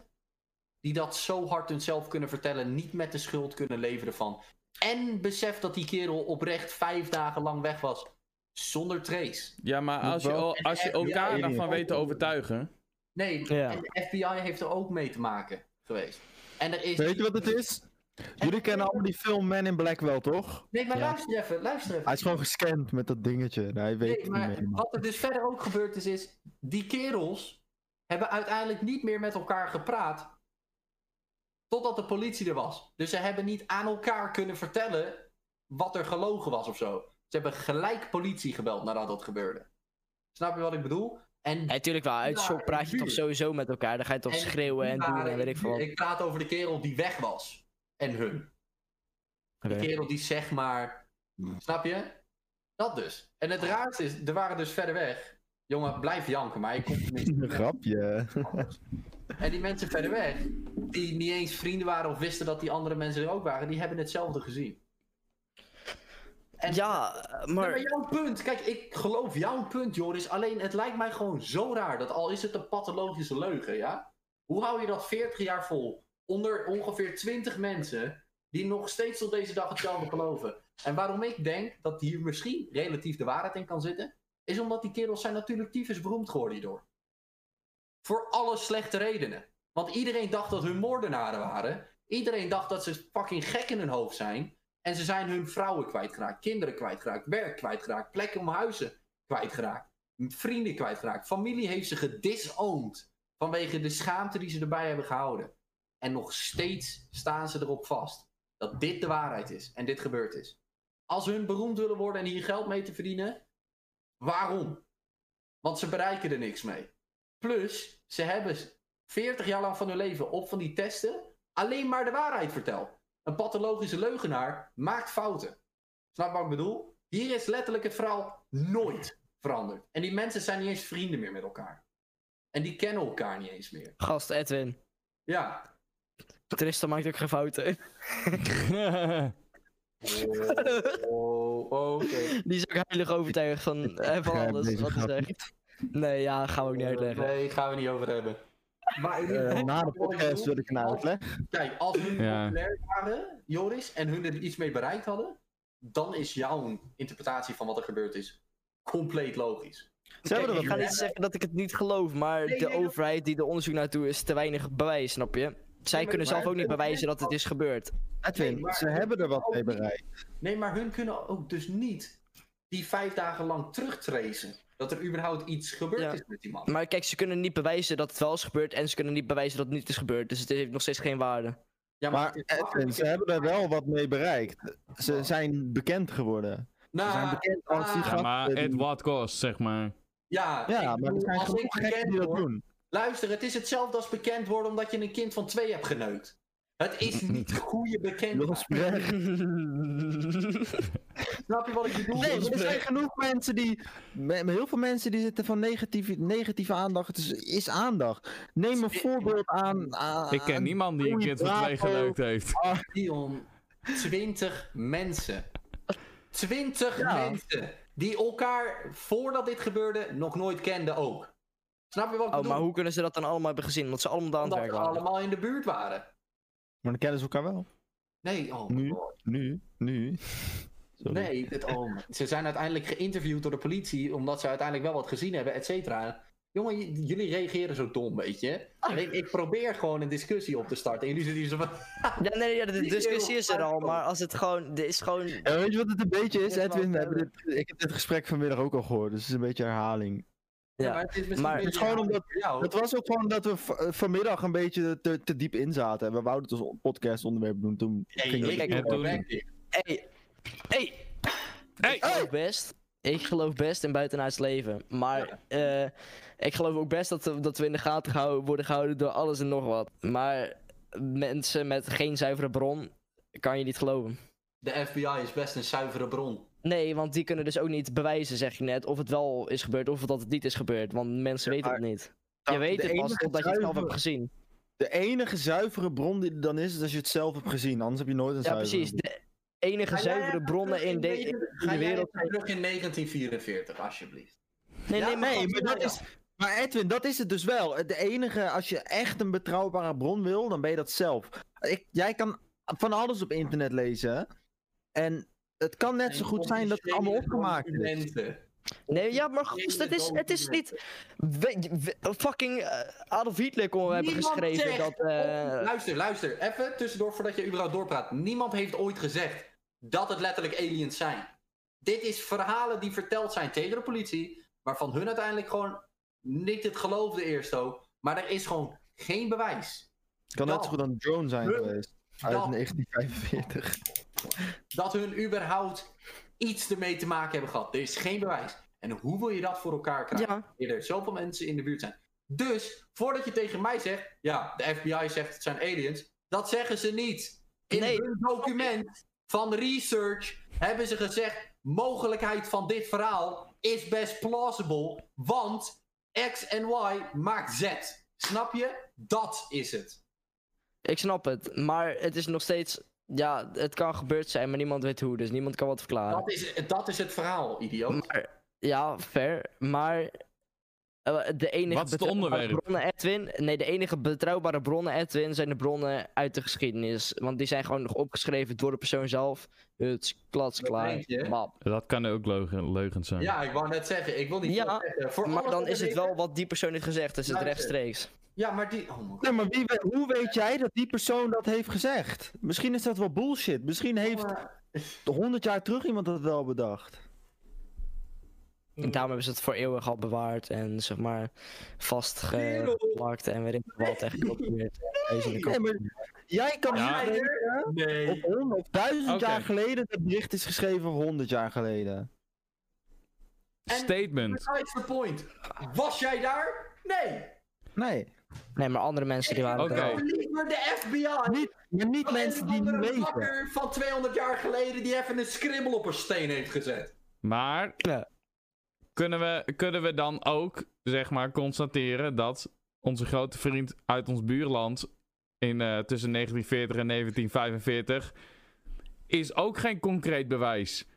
D: die dat zo hard hunzelf kunnen vertellen, niet met de schuld kunnen leveren van. En besef dat die kerel oprecht vijf dagen lang weg was. Zonder trace.
B: Ja, maar
E: Moet
B: als je,
E: wel-
B: al- als je
D: en- en-
B: elkaar
E: ja,
B: daarvan
E: alien.
B: weet te overtuigen.
D: Nee,
E: Ja.
D: en de FBI heeft er ook mee te maken geweest. En er is.
E: Weet je wat het is? Jullie kennen allemaal die film Man in Black wel, toch?
D: Nee, maar
C: Ja.
D: luister even, luister even.
E: Hij is gewoon gescand met dat dingetje. Nee, hij weet
D: Nee,
E: het
D: maar
E: niet meer. man.
D: wat er dus verder ook gebeurd is, is die kerels hebben uiteindelijk niet meer met elkaar gepraat totdat de politie er was. Dus ze hebben niet aan elkaar kunnen vertellen wat er gelogen was of zo. Ze hebben gelijk politie gebeld nadat dat gebeurde. Snap je wat ik bedoel? En
C: Ja, tuurlijk wel. Uit
D: Ja,
C: shock praat je
D: duur.
C: toch sowieso met elkaar. Dan ga je toch
D: En
C: schreeuwen en
D: die
C: doen
D: waren-
C: en weet ik veel wat.
D: Ik praat over de kerel die weg was. En hun.
C: Oké.
D: De kerel die zeg maar. Snap je? Dat dus. En het raarste is, er waren dus verder weg. Jongen, blijf janken, maar ik kom
E: Een grapje.
D: En die mensen verder weg, die niet eens vrienden waren of wisten dat die andere mensen er ook waren, die hebben hetzelfde gezien. En-
C: Ja,
D: Ja, maar
C: maar...
D: jouw punt, kijk, ik geloof jouw punt, Joris. Alleen het lijkt mij gewoon zo raar dat al is het een pathologische leugen, ja? Hoe hou je dat 40 jaar vol onder ongeveer 20 mensen die nog steeds tot deze dag hetzelfde geloven? En waarom ik denk dat hier misschien relatief de waarheid in kan zitten, is omdat die kerels zijn natuurlijk tyfus beroemd geworden hierdoor. Voor alle slechte redenen. Want iedereen dacht dat hun moordenaren waren. Iedereen dacht dat ze fucking gek in hun hoofd zijn. En ze zijn hun vrouwen kwijtgeraakt, kinderen kwijtgeraakt, werk kwijtgeraakt, plekken om huizen kwijtgeraakt, vrienden kwijtgeraakt. Familie heeft ze gedisowned vanwege de schaamte die ze erbij hebben gehouden. En nog steeds staan ze erop vast dat dit de waarheid is en dit gebeurd is. Als hun beroemd willen worden en hier geld mee te verdienen, waarom? Want ze bereiken er niks mee. Plus, ze hebben 40 jaar lang van hun leven op van die testen alleen maar de waarheid verteld. Een pathologische leugenaar maakt fouten. Snap wat ik bedoel? Hier is letterlijk het verhaal nooit veranderd. En die mensen zijn niet eens vrienden meer met elkaar. En die kennen elkaar niet eens meer.
C: Gast, Edwin.
D: Ja.
C: Tristan maakt ook geen fouten.
D: Oh, oké.
C: Die is ook heilig overtuigd van, eh, van
E: begrijp
C: alles
E: deze
C: wat hij
E: grap
C: zegt. Nee, ja, gaan we
D: Oh,
C: ook niet uitleggen.
D: Nee, gaan we niet over hebben. Maar in ieder
E: Eh,
D: geval,
E: na de
D: wat ik
E: podcast
D: bedoel,
E: wil ik een uitleg.
D: Kijk, als hun
B: Ja.
D: populair waren, Joris, en hun er iets mee bereikt hadden, dan is jouw interpretatie van wat er gebeurd is compleet logisch.
E: Ze hebben er
C: Kijk,
E: wat
C: ik ga
E: mee.
C: niet zeggen dat ik het niet geloof, maar
D: Nee,
C: de
D: nee, dat-
C: overheid die de onderzoek naartoe is, te weinig bewijs, snap je? Zij
D: maar-
C: kunnen
D: maar-
C: zelf ook niet bewijzen dat het is gebeurd.
D: Nee,
E: Edwin,
D: maar-
E: ze hebben er wat mee bereikt.
D: Nee, maar hun kunnen ook dus niet die vijf dagen lang terugtracen. Dat er überhaupt iets gebeurd
C: Ja.
D: is met die man.
C: Maar kijk, ze kunnen niet bewijzen dat het wel is gebeurd en ze kunnen niet bewijzen dat het niet is gebeurd. Dus het heeft nog steeds geen waarde.
D: Ja,
E: Maar
D: het is
E: Edwin,
D: makkelijk.
E: ze hebben er wel wat mee bereikt. Ze zijn bekend geworden. Ze
D: Nou,
E: zijn bekend als die
D: ah,
B: ja,
E: gasten.
B: maar at
E: die-
B: what cost, zeg maar.
D: ja,
E: Ja, maar
D: ik
E: er
D: bedoel,
E: zijn
D: als ik
E: genoeg gekken
D: bekend
E: die dat
D: word-
E: doen.
D: Luister, het is hetzelfde als bekend worden omdat je een kind van twee hebt geneukt. Het is niet goede
E: Jos
D: bekendheid.
E: Brecht.
D: Snap je wat ik bedoel?
E: Nee, maar er
D: Dus-
E: zijn genoeg mensen die. me- me- Heel veel mensen die zitten van negatieve, negatieve aandacht. Het is, is aandacht. Neem een voorbeeld aan. aan-
B: Ik ken niemand die een
E: Joey
B: kind van twee
E: Bravo.
B: geleukt heeft.
E: oh.
D: Dion, 20 mensen. 20
E: Ja.
D: mensen. die elkaar voordat dit gebeurde nog nooit kenden ook. Snap je wat ik
C: Oh,
D: bedoel?
C: maar hoe kunnen ze dat dan allemaal hebben gezien? Omdat ze allemaal daar aan het
D: Omdat we
C: werk waren.
D: allemaal in de buurt waren.
E: Maar dan kennen ze elkaar wel.
D: Nee, oh
E: Nu?
D: my god.
E: Nu, nu. Sorry.
D: Nee, dit, oh my- ze zijn uiteindelijk geïnterviewd door de politie omdat ze uiteindelijk wel wat gezien hebben, et cetera. Jongen, j- jullie reageren zo dom, weet je.
E: Ah.
D: Alleen, ik probeer gewoon een discussie op te starten. En jullie zitten hier zo van...
C: Ja, nee, ja, de
D: Die
C: discussie is er
D: eeuw.
C: al, maar als het gewoon... Er is gewoon...
E: Ja, weet je wat het een beetje is,
D: Dit is wel
E: Edwin? We
D: verder.
E: hebben dit- ik heb dit gesprek vanmiddag ook al gehoord, dus het is een beetje herhaling.
C: Ja,
D: maar het is misschien
C: maar-
D: een beetje
E: Het is gewoon omdat-
D: voor
C: Oh.
D: jou.
E: Het was ook gewoon dat we v- eh, vanmiddag een beetje te, te diep in zaten. En we wouden het als podcast onderwerp doen. Toen
D: Nee,
E: ging
D: ik
E: het-
B: heb
D: doe
B: toen-
D: mijn werk
C: Hey, hey,
B: Hey!
C: ik geloof best. Ik geloof best in buitenaards leven. Maar eh, ik geloof ook best dat, we- dat we in de gaten gehouden, worden gehouden door alles en nog wat. Maar mensen met geen zuivere bron kan je niet geloven.
D: De FBI is best een zuivere bron.
C: Nee, want die kunnen dus ook niet bewijzen, zeg je net, of het wel is gebeurd of dat het niet is gebeurd. Want mensen
E: Ja,
C: weten het
E: maar
C: niet.
E: Nou,
C: je weet
E: de
C: het pas
E: enige
C: totdat je het zelf
E: zuivere-
C: hebt gezien.
E: De enige zuivere bron die er dan is, is als je het zelf hebt gezien. Anders heb je nooit een
C: Ja,
E: zuivere
C: precies.
E: bron.
C: De enige zuivere bronnen in, de, in de wereld.
D: terug in 1944, alsjeblieft.
C: Nee, nee, maar
E: Nee,
D: Ja,
E: maar dat is... Maar Edwin, dat is het dus wel. De enige, als je echt een betrouwbare bron wil, dan ben je dat zelf. Ik, jij kan van alles op internet lezen. En het kan net zo goed zijn dat het allemaal opgemaakt is.
D: Mensen.
C: Nee, ja, maar gast, het is, het is niet. We, we- fucking eh, Adolf Hitler kon hebben
D: Niemand
C: geschreven
D: zegt
C: dat. eh,
D: Oh, Luister, luister. Even tussendoor voordat je überhaupt doorpraat. Niemand heeft ooit gezegd dat het letterlijk aliens zijn. Dit is verhalen die verteld zijn tegen de politie, waarvan hun uiteindelijk gewoon niet het geloofde eerst ook. Maar er is gewoon geen bewijs
E: kan net zo goed een drone zijn
D: Huh?
E: geweest. Uit
D: Dan.
E: 1945.
D: dat hun überhaupt iets ermee te maken hebben gehad. Er is geen bewijs. En hoe wil je dat voor elkaar krijgen?
C: ja,
D: wanneer er zoveel mensen in de buurt zijn. Dus voordat je tegen mij zegt, ja, de FBI zegt het zijn aliens, dat zeggen ze niet. In
C: Nee.
D: hun document van research hebben ze gezegd, mogelijkheid van dit verhaal is best plausible, want X en Y maakt Z. Snap je? Dat is het.
C: ik snap het. Maar het is nog steeds. Ja, het kan gebeurd zijn, maar niemand weet hoe. Dus niemand kan wat verklaren.
D: Dat is, dat is het verhaal,
B: Oh.
D: idioot.
C: Maar, ja, fair. Maar. eh, de enige
B: Wat is het
C: betrouwbare
B: onderwerp?
C: bronnen, Edwin. Nee, de enige betrouwbare bronnen, Edwin, zijn de bronnen uit de geschiedenis. Want die zijn gewoon nog opgeschreven door de persoon zelf. Het is
D: Dat
C: klatsklaar.
D: weet je.
C: Bam.
B: Dat kan ook leugen, leugens zijn.
D: Ja, ik wou net zeggen, ik wil niet
C: Ja,
D: veel zeggen. Voor
C: Maar
D: alles
C: dan
D: wat
C: is
D: er
C: het
D: leeft-
C: wel wat die persoon heeft gezegd. Dus het
D: Luister.
C: rechtstreeks.
D: Ja, maar die... Oh my god.
E: Nee, maar wie we- hoe weet jij dat die persoon dat heeft gezegd? Misschien is dat wel bullshit. Misschien heeft honderd jaar terug iemand dat wel bedacht.
D: Hm.
C: En daarom hebben ze het voor eeuwig al bewaard en zeg maar vastgeplakt en weet ik wat echt gekopieerd.
E: Nee, maar jij kan
B: Ja.
E: niet weten
D: Nee.
E: of honderd of duizend
B: Oké.
E: jaar geleden dat bericht is geschreven of honderd jaar geleden.
B: Statement.
D: Besides the point. Was jij daar? Nee.
E: Nee,
C: Nee, maar andere mensen die waren
B: Oké.
C: er ook.
D: Nou, Niet maar de FBI.
E: niet, maar niet mensen die niet
D: een
E: weten.
D: bakker van 200 jaar geleden die even een scribbel op een steen heeft gezet.
B: Maar
C: Ja.
B: kunnen, we, kunnen we dan ook, zeg maar, constateren dat onze grote vriend uit ons buurland in, eh, tussen 1940 en 1945 is ook geen concreet bewijs.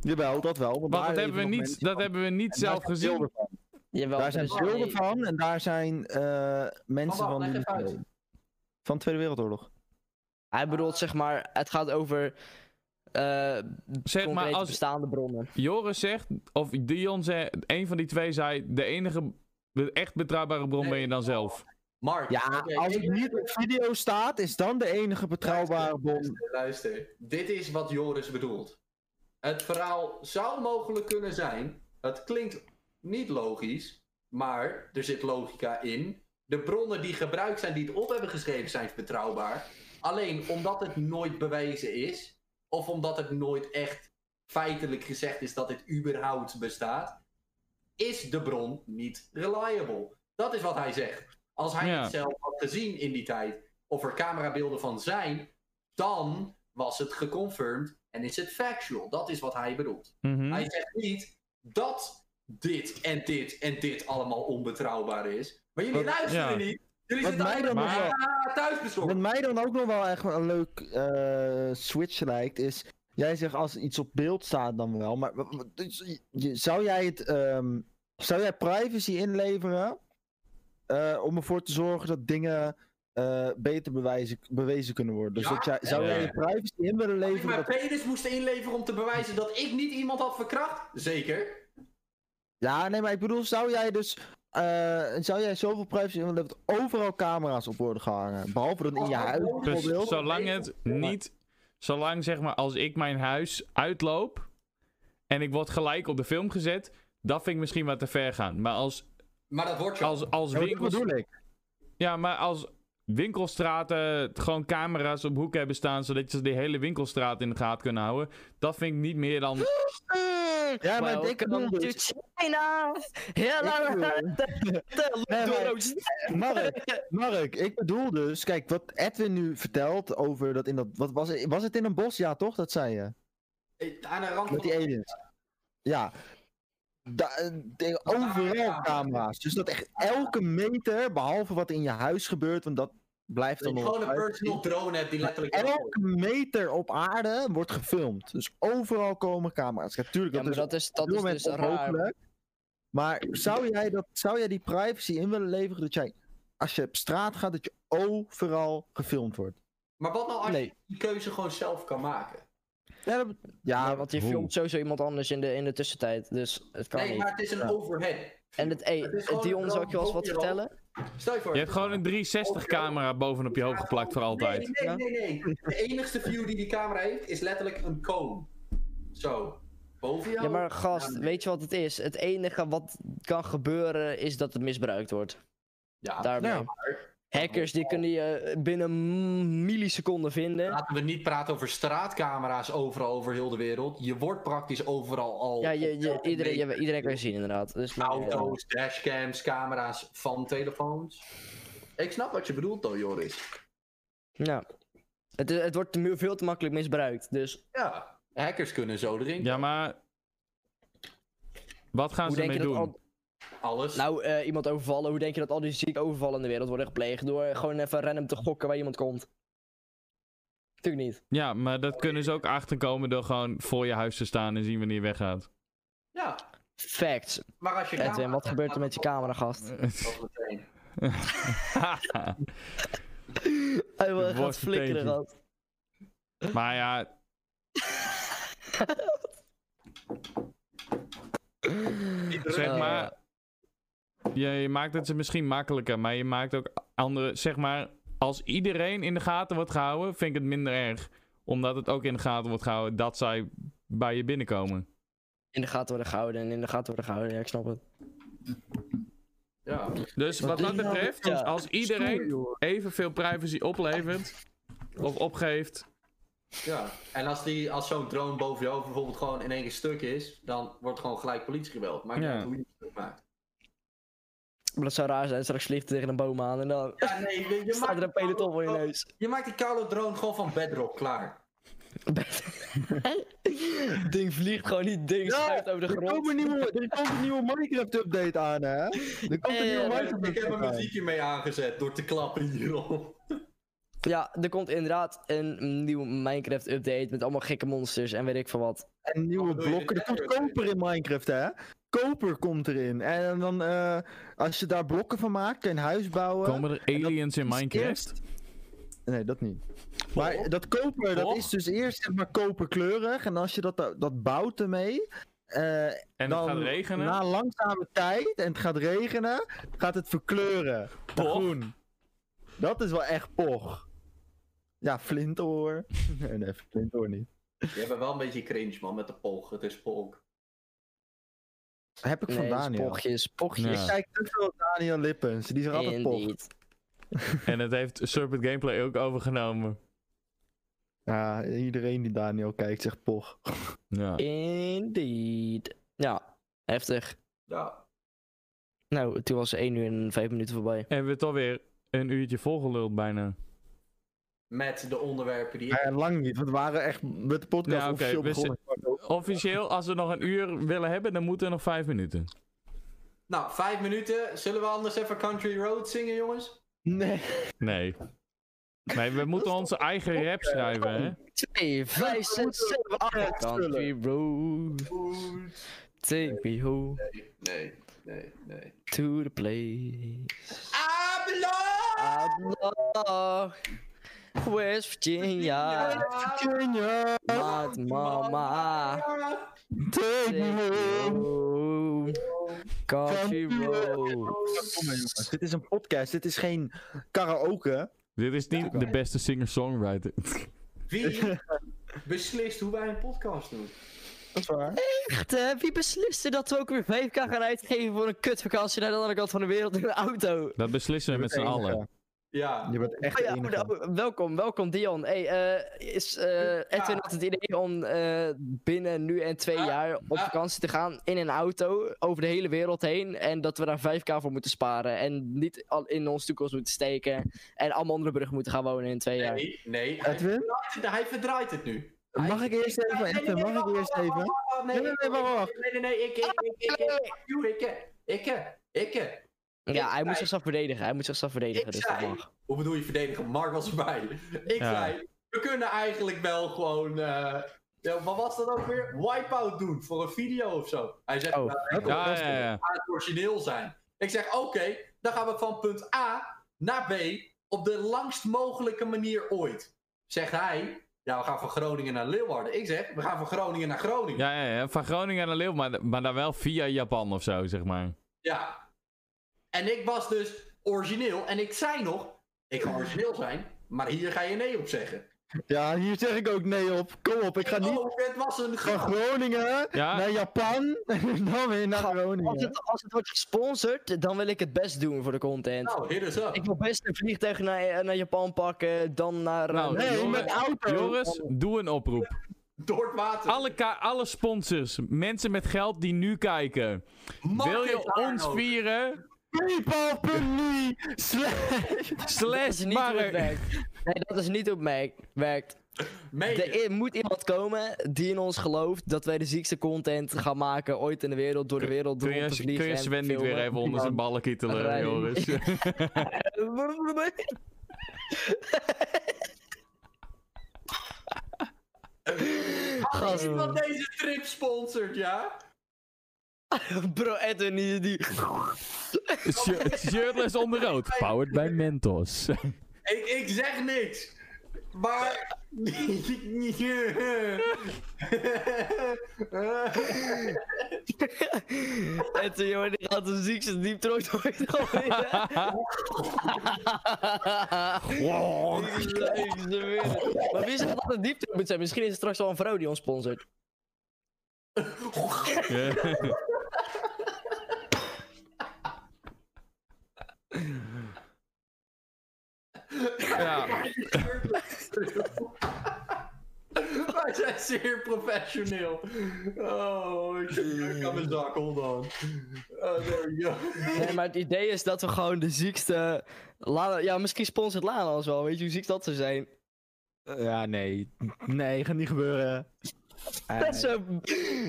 E: Jawel, dat wel. Want
B: Want
E: daar
B: dat hebben we
E: leven nog mensen
B: niet, dat
E: van.
B: hebben we niet
E: En daar
B: zelf
E: zijn
B: gezien.
E: beelden van.
C: Jawel,
E: Daar zijn
C: dus-
E: beelden
C: nee.
E: van en daar zijn eh, mensen
D: Mama,
E: van...
D: leg
E: die-
D: even uit.
E: Van de Tweede Wereldoorlog.
C: Hij bedoelt zeg maar, het gaat over eh
B: Zeg maar,
C: concrete
B: als
C: bestaande bronnen.
B: Joris zegt, of Dion zegt, een van die twee zei, de enige be- echt betrouwbare bron ben je dan zelf.
D: Mark,
E: Ja,
D: oké,
E: als
D: ik-
E: het niet op video staat, is dan de enige betrouwbare bron.
D: Luister, luister, dit is wat Joris bedoelt. Het verhaal zou mogelijk kunnen zijn. Het klinkt niet logisch, maar er zit logica in. De bronnen die gebruikt zijn, die het op hebben geschreven, zijn betrouwbaar. Alleen omdat het nooit bewezen is, of omdat het nooit echt feitelijk gezegd is dat het überhaupt bestaat, is de bron niet reliable. Dat is wat hij zegt. Als hij
B: Ja.
D: het zelf had gezien in die tijd, of er camerabeelden van zijn, dan was het geconfirmed en is het factual. Dat is wat hij bedoelt.
B: Mhm.
E: Hmm.
D: Hij zegt niet dat dit en dit en dit allemaal onbetrouwbaar is. Maar jullie
E: Wat-
D: luisteren
B: ja.
D: niet. Jullie
E: Wat
D: zitten
E: mij dan
D: allemaal
B: nog
D: thuis
E: Wat mij dan ook nog wel echt een leuk eh, switch lijkt, is Jij zegt als iets op beeld staat dan wel, maar w- w- dus je- zou jij het, ehm, zou jij privacy inleveren eh, om ervoor te zorgen dat dingen eh, beter bewijzen, bewezen kunnen worden? Dus
D: Ja,
E: dat jij, zou jij
B: eh,
E: je privacy in willen
D: Als ik
E: leveren?
D: mijn
E: dat-
D: penis moest inleveren om te bewijzen dat ik niet iemand had verkracht? Zeker.
E: ja, nee, maar ik bedoel, zou jij dus, eh, zou jij zoveel privacy in willen leveren dat overal camera's op worden gehangen, behalve dat in je
D: Als dat
E: huis
D: nodig is.
B: Dus
E: bijvoorbeeld?
B: zolang het niet. Zolang zeg maar als ik mijn huis uitloop. en ik word gelijk op de film gezet. dat vind ik misschien wat te ver gaan. Maar als,
D: Maar dat wordt je.
B: als, als
E: Ja, maar dat
B: winkels.
E: bedoel ik.
B: Ja, maar als winkelstraten gewoon camera's op hoeken hebben staan. zodat ze die hele winkelstraat in de gaten kunnen houden. dat vind ik niet meer dan.
E: Ja, maar ik bedoel dus-
C: China!
E: Ik bedoel- Nee, maar- Mark, Mark, ik bedoel dus, kijk, wat Edwin nu vertelt over dat in dat. Wat was, het, was het in een bos? Ja, toch? Dat zei je.
D: Aan de rand van
E: Met die aliens. Ja. Da- eh, de-
D: Ah.
E: overal camera's. Dus dat echt elke meter, behalve wat in je huis gebeurt, want dat blijft
D: Dat
E: dan
D: je
E: nog.
D: gewoon een
E: privacy.
D: personal drone hebt die letterlijk.
E: Elke meter op aarde wordt gefilmd. Dus overal komen camera's. Ja, tuurlijk,
C: Ja, maar
E: dat
C: dat is, dat
E: op
C: is
E: dit
C: dus
E: moment
C: raar.
E: onmogelijk. Maar zou jij, dat, zou jij die privacy in willen leveren dat jij, als je op straat gaat, dat je overal gefilmd wordt?
D: Maar wat nou als
E: Nee.
D: je die keuze gewoon zelf kan maken?
E: Ja, dat be- ja,
C: Ja, want je filmt sowieso iemand anders in de, in de tussentijd, dus het kan
D: Nee,
C: niet.
D: maar het is een
E: Ja.
D: overhead.
C: En het, hey,
D: Het is gewoon
C: Dion,
D: een
C: zal ik je wel eens wat
D: groot hoofdje
C: vertellen?
D: Stel je voor.
B: Je hebt gewoon een 360 camera bovenop je hoofd geplakt voor altijd.
D: Nee, nee, nee, nee. De enigste view die die camera heeft is letterlijk een cone. Zo. Boven jou.
C: Ja, maar gast,
D: Ja.
C: weet je wat het is? Het enige wat kan gebeuren is dat het misbruikt wordt.
D: Ah, Ja,
C: Daarmee.
E: Ja.
C: Hackers die kunnen je binnen milliseconden vinden.
D: Laten we niet praten over straatcamera's overal over heel de wereld. Je wordt praktisch overal al.
C: Ja, je, je, iedereen, je- iedereen kan je zien inderdaad. Dus,
D: Auto's, dashcams, camera's van telefoons. Ik snap wat je bedoelt, though, Joris.
C: Ja. Het, is- het wordt te mu- veel te makkelijk misbruikt. Dus
D: Ja. Hackers kunnen zo erin.
B: Ja, maar. Wat gaan
C: hoe
B: ze
C: denk je
B: ermee
C: dat
B: doen?
C: al...
D: Alles.
C: Nou, eh, iemand overvallen. Hoe denk je dat al die zieke overvallen in de wereld worden gepleegd? Door gewoon even random te gokken waar iemand komt. Natuurlijk niet.
B: Ja, maar dat kunnen ze ook achterkomen door gewoon voor je huis te staan en zien wanneer je weggaat.
D: Ja.
C: Facts.
D: Maar als je
C: Edwin,
D: camera-
C: wat gebeurt er met je camera, gast?
D: Dat meteen.
C: Hij wil
B: Het
C: gaat
B: worst
C: flikkeren,
B: beteentje.
C: gast.
B: maar ja, zeg
C: Eh,
B: maar. Je, je maakt het ze misschien makkelijker, maar je maakt ook andere. Zeg maar, als iedereen in de gaten wordt gehouden, vind ik het minder erg. Omdat het ook in de gaten wordt gehouden dat zij bij je binnenkomen.
C: In de gaten worden gehouden en in de gaten worden gehouden. Ja, ik snap het.
D: Ja.
B: Dus wat
E: doe
B: dat
E: je nou
B: betreft,
C: met-
B: als-
C: ja,
B: als iedereen evenveel privacy oplevert of opgeeft,
D: Ja, en als, die- als zo'n drone boven je hoofd bijvoorbeeld gewoon in één keer stuk is, dan wordt gewoon gelijk politiegeweld. Maakt niet
B: Ja.
D: uit hoe je het stuk maakt.
C: Maar dat zou raar zijn, straks vliegt hij tegen een boom aan en dan
D: Ja, nee, je, je,
C: staat er een
D: maakt, die
C: peloton voor
D: koude
C: je
D: drone-
C: neus.
D: je maakt die koude drone gewoon van bedrock klaar.
C: ding vliegt gewoon niet, ding
E: Ja,
C: schuift over de
E: er,
C: grond.
E: komt een nieuwe, er komt een nieuwe Minecraft-update aan, hè? Er komt een
C: Eh,
E: nieuwe
C: maar
D: Ik heb
E: Minecraft-update
D: mijn
E: aan.
D: muziek hiermee aangezet door te klappen hierop.
C: Ja, er komt inderdaad een nieuw Minecraft update met allemaal gekke monsters en weet ik veel wat.
E: En nieuwe
D: Wat bedoel je,
E: blokken. Er
D: dit
E: komt
D: Minecraft?
E: koper in Minecraft, hè? Koper komt erin. En dan, eh, als je daar blokken van maakt, kun je een huis bouwen.
B: komen er aliens in
E: is
B: Minecraft?
E: eerst- Nee, dat niet. Maar dat koper, dat
B: Och.
E: is dus eerst zeg maar koperkleurig. En als je dat, dat bouwt ermee. eh,
B: En het
E: dan
B: gaat regenen?
E: Na langzame tijd en het gaat regenen, gaat het verkleuren. naar
B: Poch.
E: Groen. Dat is wel echt poch. Ja, flintoor. nee, nee, flintoor niet.
D: Je hebt wel een beetje cringe man met de polk. Het is polk.
E: Heb ik
C: Nee,
E: van
C: dus
E: Daniel.
C: pochjes, pochjes.
B: Ja.
E: Ik kijk te veel Daniel Lippens. Die is er altijd poch.
C: Indeed.
B: En het heeft Serpent Gameplay ook overgenomen.
E: Ja, iedereen die Daniel kijkt zegt poch.
B: Ja.
C: Indeed. Ja, heftig.
D: Ja.
C: Nou, toen was 1 uur en 5 minuten voorbij.
B: En we toch weer een uurtje volgeluld bijna.
D: Met de onderwerpen die.
E: Maar ja, lang niet, want we waren echt met de podcast
B: Ja, oké,
E: officieel
B: we
E: begonnen.
B: Officieel, als we nog een uur willen hebben, dan moeten we nog vijf minuten.
D: Nou, vijf minuten. Zullen we anders even Country Road zingen, jongens?
E: Nee.
B: Nee. Nee, we moeten onze eigen rap schrijven, hè?
C: 2, 5, 6, 7, 8. Can't be rude. Take me home
D: Nee, nee, nee.
C: to the place.
D: Ah, Abelo!
C: I belong. West Virginia.
E: Ah. Virginia,
C: My mama.
E: take
C: Take
E: me
C: me
E: home.
C: home. Country road.
E: Dit is een podcast, dit is geen karaoke.
B: Dit is niet de beste singer-songwriter.
D: Wie beslist hoe wij een podcast doen?
E: Dat is waar.
C: Echt, hè? eh, Wie besliste dat we ook weer 5k gaan uitgeven voor een kutvakantie naar de andere kant van de wereld in een auto?
B: Dat beslissen we met z'n allen.
D: Ja.
E: Je bent echt
C: Oh
E: de
C: ja,
E: enige.
C: oh, nou, welkom, welkom Dion. Hey, eh, is, eh, Edwin had het idee om eh, binnen nu en twee
D: Ah,
C: jaar op
D: ah.
C: vakantie te gaan in een auto over de hele wereld heen. En dat we daar 5k voor moeten sparen. En niet al in onze toekomst moeten steken. En allemaal onder de brug moeten gaan wonen in twee jaar.
D: Nee, nee. Hij
E: Edwin,
D: verdraait het, hij verdraait het nu.
E: mag ik eerst even?
D: Nee, nee,
E: Edwin, mag
D: nee,
E: ik
D: wacht,
E: eerst
D: wacht,
E: even?
D: wacht, wacht,
E: Nee, nee, nee, wacht, wacht.
D: Nee, nee, nee, ik, ik, ik, ik, ik, ik, ik, ik, ik, ik, ik.
C: Ja, hij
D: zei-
C: moet zichzelf verdedigen. Hij moet zichzelf verdedigen.
D: Ik
C: Dus dat
D: zei-
C: mag.
D: Hoe bedoel je verdedigen? Mark was erbij. Ik
B: Ja.
D: zei, we kunnen eigenlijk wel gewoon... eh, ja, wat was dat ook weer? Wipeout doen voor een video of zo. Hij zegt,
C: Oh,
D: nou, ik wil
B: Ja,
D: best
B: ja, ja.
D: aan het origineel zijn. Ik zeg, oké, dan gaan we van punt A naar B op de langst mogelijke manier ooit. Zegt hij, ja, we gaan van Groningen naar Leeuwarden. Ik zeg, we gaan van Groningen naar Groningen. Ja.
B: Ja, ja, ja. Van Groningen naar Leeuw, maar, maar dan wel via Japan of zo, zeg maar.
D: En ik was dus origineel. En ik zei nog, ik ga origineel zijn, maar hier ga je nee op zeggen.
E: Ja, hier zeg ik ook nee op. Kom op, ik ga niet
D: Oh, het was
E: van
D: een grap.
E: Groningen
B: Ja.
E: naar Japan en dan weer naar
C: Als
E: Groningen.
C: het, als het wordt gesponsord, dan wil ik het best doen voor de content.
D: Nou, hit us up.
C: Ik wil best een vliegtuig naar, naar Japan pakken, dan naar...
B: Nou,
C: eh,
E: Nee,
B: Joris-
E: met auto.
B: Joris, doe een oproep.
D: Door het water.
B: Alle, ka- alle sponsors, mensen met geld die nu kijken.
D: Mark
B: Wil
D: heeft nou
B: je
D: haar
B: ons
D: nodig.
B: vieren?
E: Paypal.me slash-
C: dat is
B: Slash
C: niet hoe het
B: Mark.
C: werkt. Nee, dat is niet hoe het merk- werkt.
D: Meen je?
C: Er i- moet iemand komen die in ons gelooft dat wij de ziekste content gaan maken ooit in de wereld, door de wereld
B: Kun
C: rond te
B: je,
C: vliegen
B: kun je
C: en
B: Sven niet weer
C: filmen.
B: even onder zijn ballen kietelen,
C: Rijn.
B: Joris?
D: Als iemand deze trip sponsort, ja?
C: Bro, Edwin, die... die...
B: Shir- Shirtless onder rood. Powered by Mentos.
D: Ik, ik zeg niks. Maar...
C: Edwin, jongen, die gaat de ziekste diepte ooit gooien. Maar wie zegt dat het diepte moet zijn? Misschien is het straks wel een vrouw die ons sponsort.
B: ja.
D: Wij zijn zeer professioneel. Oh, ik ik kan mijn zak hold on. Oh, there you go.
C: Nee, maar het idee is dat we gewoon de ziekste. Lana, ja, misschien sponsort Lana ons wel. Weet je hoe ziek dat zou zijn?
E: Ja, nee. Nee, gaat niet gebeuren.
C: Dat, zou,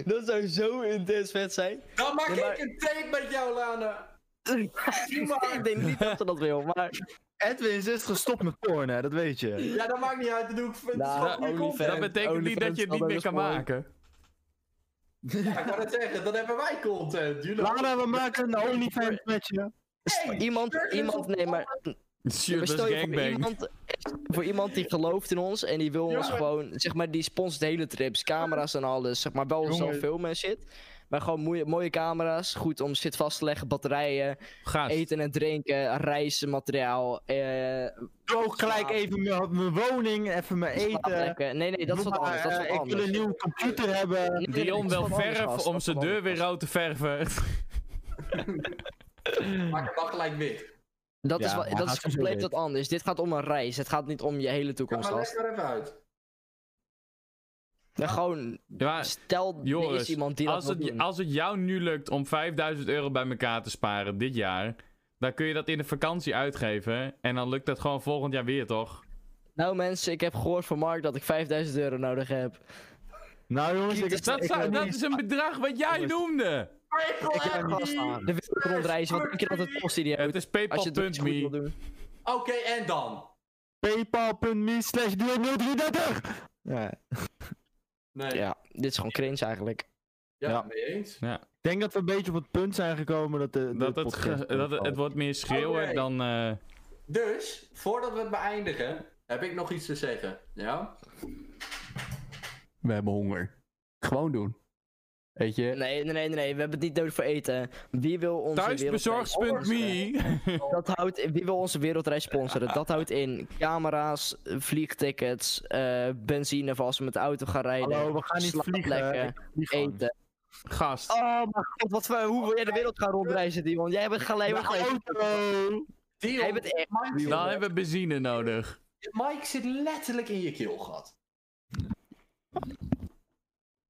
C: dat zou zo intens vet zijn.
D: Dan maak
C: Ja, maar-
D: ik een tape met jou, Lana.
C: ik denk niet dat ze dat wil, maar.
E: Edwin is echt gestopt met porn, hè, dat weet je.
D: Ja, dat maakt niet uit. Dat doe ik voor
C: Nou,
D: het is gewoon
C: OnlyFans.
D: content.
B: Dat betekent niet dat je het niet meer kan maken.
D: Ja, ik kan het zeggen. Dan hebben wij content. You know.
E: Lara, we maken een OnlyFans met je.
C: Iemand, iemand, nee, maar. maar
B: Shirtless
C: stel je voor
B: gangbang.
C: iemand, voor iemand die gelooft in ons en die wil ons
D: Jongen.
C: gewoon, zeg maar, die sponsort de hele trips, camera's en alles, zeg maar, wel zelf filmen en shit. Maar gewoon mooie, mooie camera's, goed om shit vast te leggen, batterijen,
B: Gaat.
C: eten en drinken, reizenmateriaal, eh,
E: Doe ook gelijk even mijn mijn woning, even mijn eten.
C: slaapplekken. Nee, nee, dat is wat
E: Doe maar,
C: anders. Dat is wat
E: eh, Ik wil
C: anders.
E: een nieuwe computer hebben.
C: Nee, nee, dat
B: Dion
C: is
B: wil
C: wat anders, gast,
B: verf
C: dat
B: om
C: is
B: zijn
C: wat
B: deur weer
C: anders.
B: rood te verven.
D: Maak het dan gelijk wit.
C: Dat is,
E: Ja,
C: wa-
E: maar
C: dat is
E: gaat zo
C: compleet
E: wit.
C: wat anders. Dit gaat om een reis. Het gaat niet om je hele
D: Kom
C: toekomst.
D: maar
C: gast.
D: leg maar even uit.
C: Maar gewoon,
B: Ja, maar
C: stel er is
B: Joris,
C: iemand die
B: als
C: dat wil
B: het,
C: doen.
B: als het jou nu lukt om 5000 euro bij elkaar te sparen dit jaar, dan kun je dat in de vakantie uitgeven. En dan lukt dat gewoon volgend jaar weer, toch?
C: Nou mensen, ik heb gehoord van Mark dat ik 5000 euro nodig heb.
E: Nou jongens, ik
B: Dat,
E: ik
B: zou-
E: heb
B: dat
E: niet-
B: is een bedrag wat jij noemde.
D: Ik
C: heb De wereld rondreizen, wat denk je dat het kost die die
B: Het
C: moet-
B: is
C: Als je het goed wil
B: paypal.me.
C: doen.
D: Oké, en dan?
E: Paypal.me slash duo 033! Ja,
D: Nee, ja,
C: Ja, dit is gewoon cringe eigenlijk.
E: Ja.
D: mee eens.
E: ik denk dat we een beetje op het punt zijn gekomen dat de. de
B: Dat het,
E: podcast
B: ge- dat het, het wordt meer
C: Oh,
B: schreeuwen
D: Oké.
B: dan... eh,
D: Dus, voordat we het beëindigen, heb ik nog iets te zeggen. Ja? We hebben honger. Gewoon doen. Weet je?
C: Nee, nee, nee, nee, nee, we hebben het niet nodig voor eten. Wie wil onze wereldreis sponsoren?
B: Thuisbezorgd.me.
C: Dat houdt, wie wil onze wereldreis sponsoren? Dat houdt in camera's, vliegtickets, eh, benzine voor als we met de auto gaan rijden.
E: Hallo, we gaan niet vliegen.
C: slaapplekken,
E: Ik vlieg gewoon.
C: eten.
B: Gast.
C: Oh mijn god, wat voor, hoe wil jij de wereld gaan rondreizen, Dion? Jij bent gelijk,
E: Mijn
C: maar gelijk.
E: auto!
D: Dion,
E: oh,
C: Jij bent echt...
D: Mike, zit-
B: Dan hebben we benzine nodig.
D: Mike zit letterlijk in je keelgat.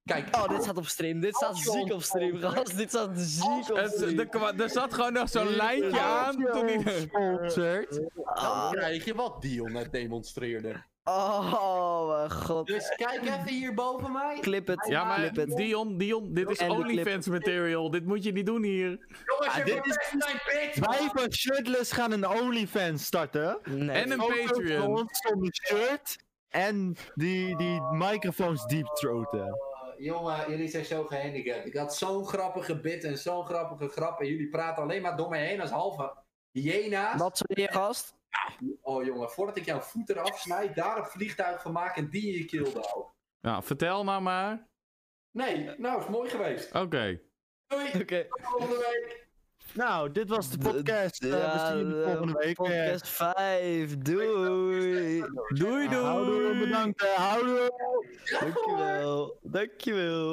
D: Kijk, nou,
C: Oh, dit staat op stream. Dit staat ziek op stream, gast. Dit staat ziek op
B: Het,
C: stream.
B: er, kwa- er zat gewoon nog zo'n lijntje aan. Toen die...
E: Sponsored.
C: Ah.
D: dan krijg je wat Dion net demonstreerde.
C: Oh, mijn god.
D: Dus kijk even hier boven mij.
C: Clip het.
B: Ja, maar
C: clip het.
B: Dion, Dion, dit is
C: En de clip.
B: OnlyFans material. Dit moet je niet doen hier.
D: Jongens,
E: Ah,
D: je
E: dit is-
D: bent mijn bitch.
E: Wij van Shirtless gaan een OnlyFans starten.
C: Nee.
B: En een
E: Foto's van
B: Patreon.
E: ons zonder shirt. En die, die microfoons deep throaten.
D: Ah, Jongen, jullie zijn zo gehandicapt. Ik had zo'n grappige bit en zo'n grappige grap. En jullie praten alleen maar door mij heen als halve hyena's.
C: Wat zo je gast?
D: Oh jongen, voordat ik jouw voet eraf snijd, daar een vliegtuig van maak en die in je keel bouw.
B: Nou, vertel maar maar.
D: Nee, nou is mooi geweest.
B: Oké.
D: Doei,
C: Oké.
D: tot volgende week.
E: Nou, dit was de
C: D-
E: podcast. Eh, we
C: ja,
E: zien jullie
C: de
E: volgende week eh. weer.
C: Podcast 5. Doei.
B: Doei, doei.
E: Houdoe, bedankt. eh, Houdoe.
C: Dankjewel. Dankjewel.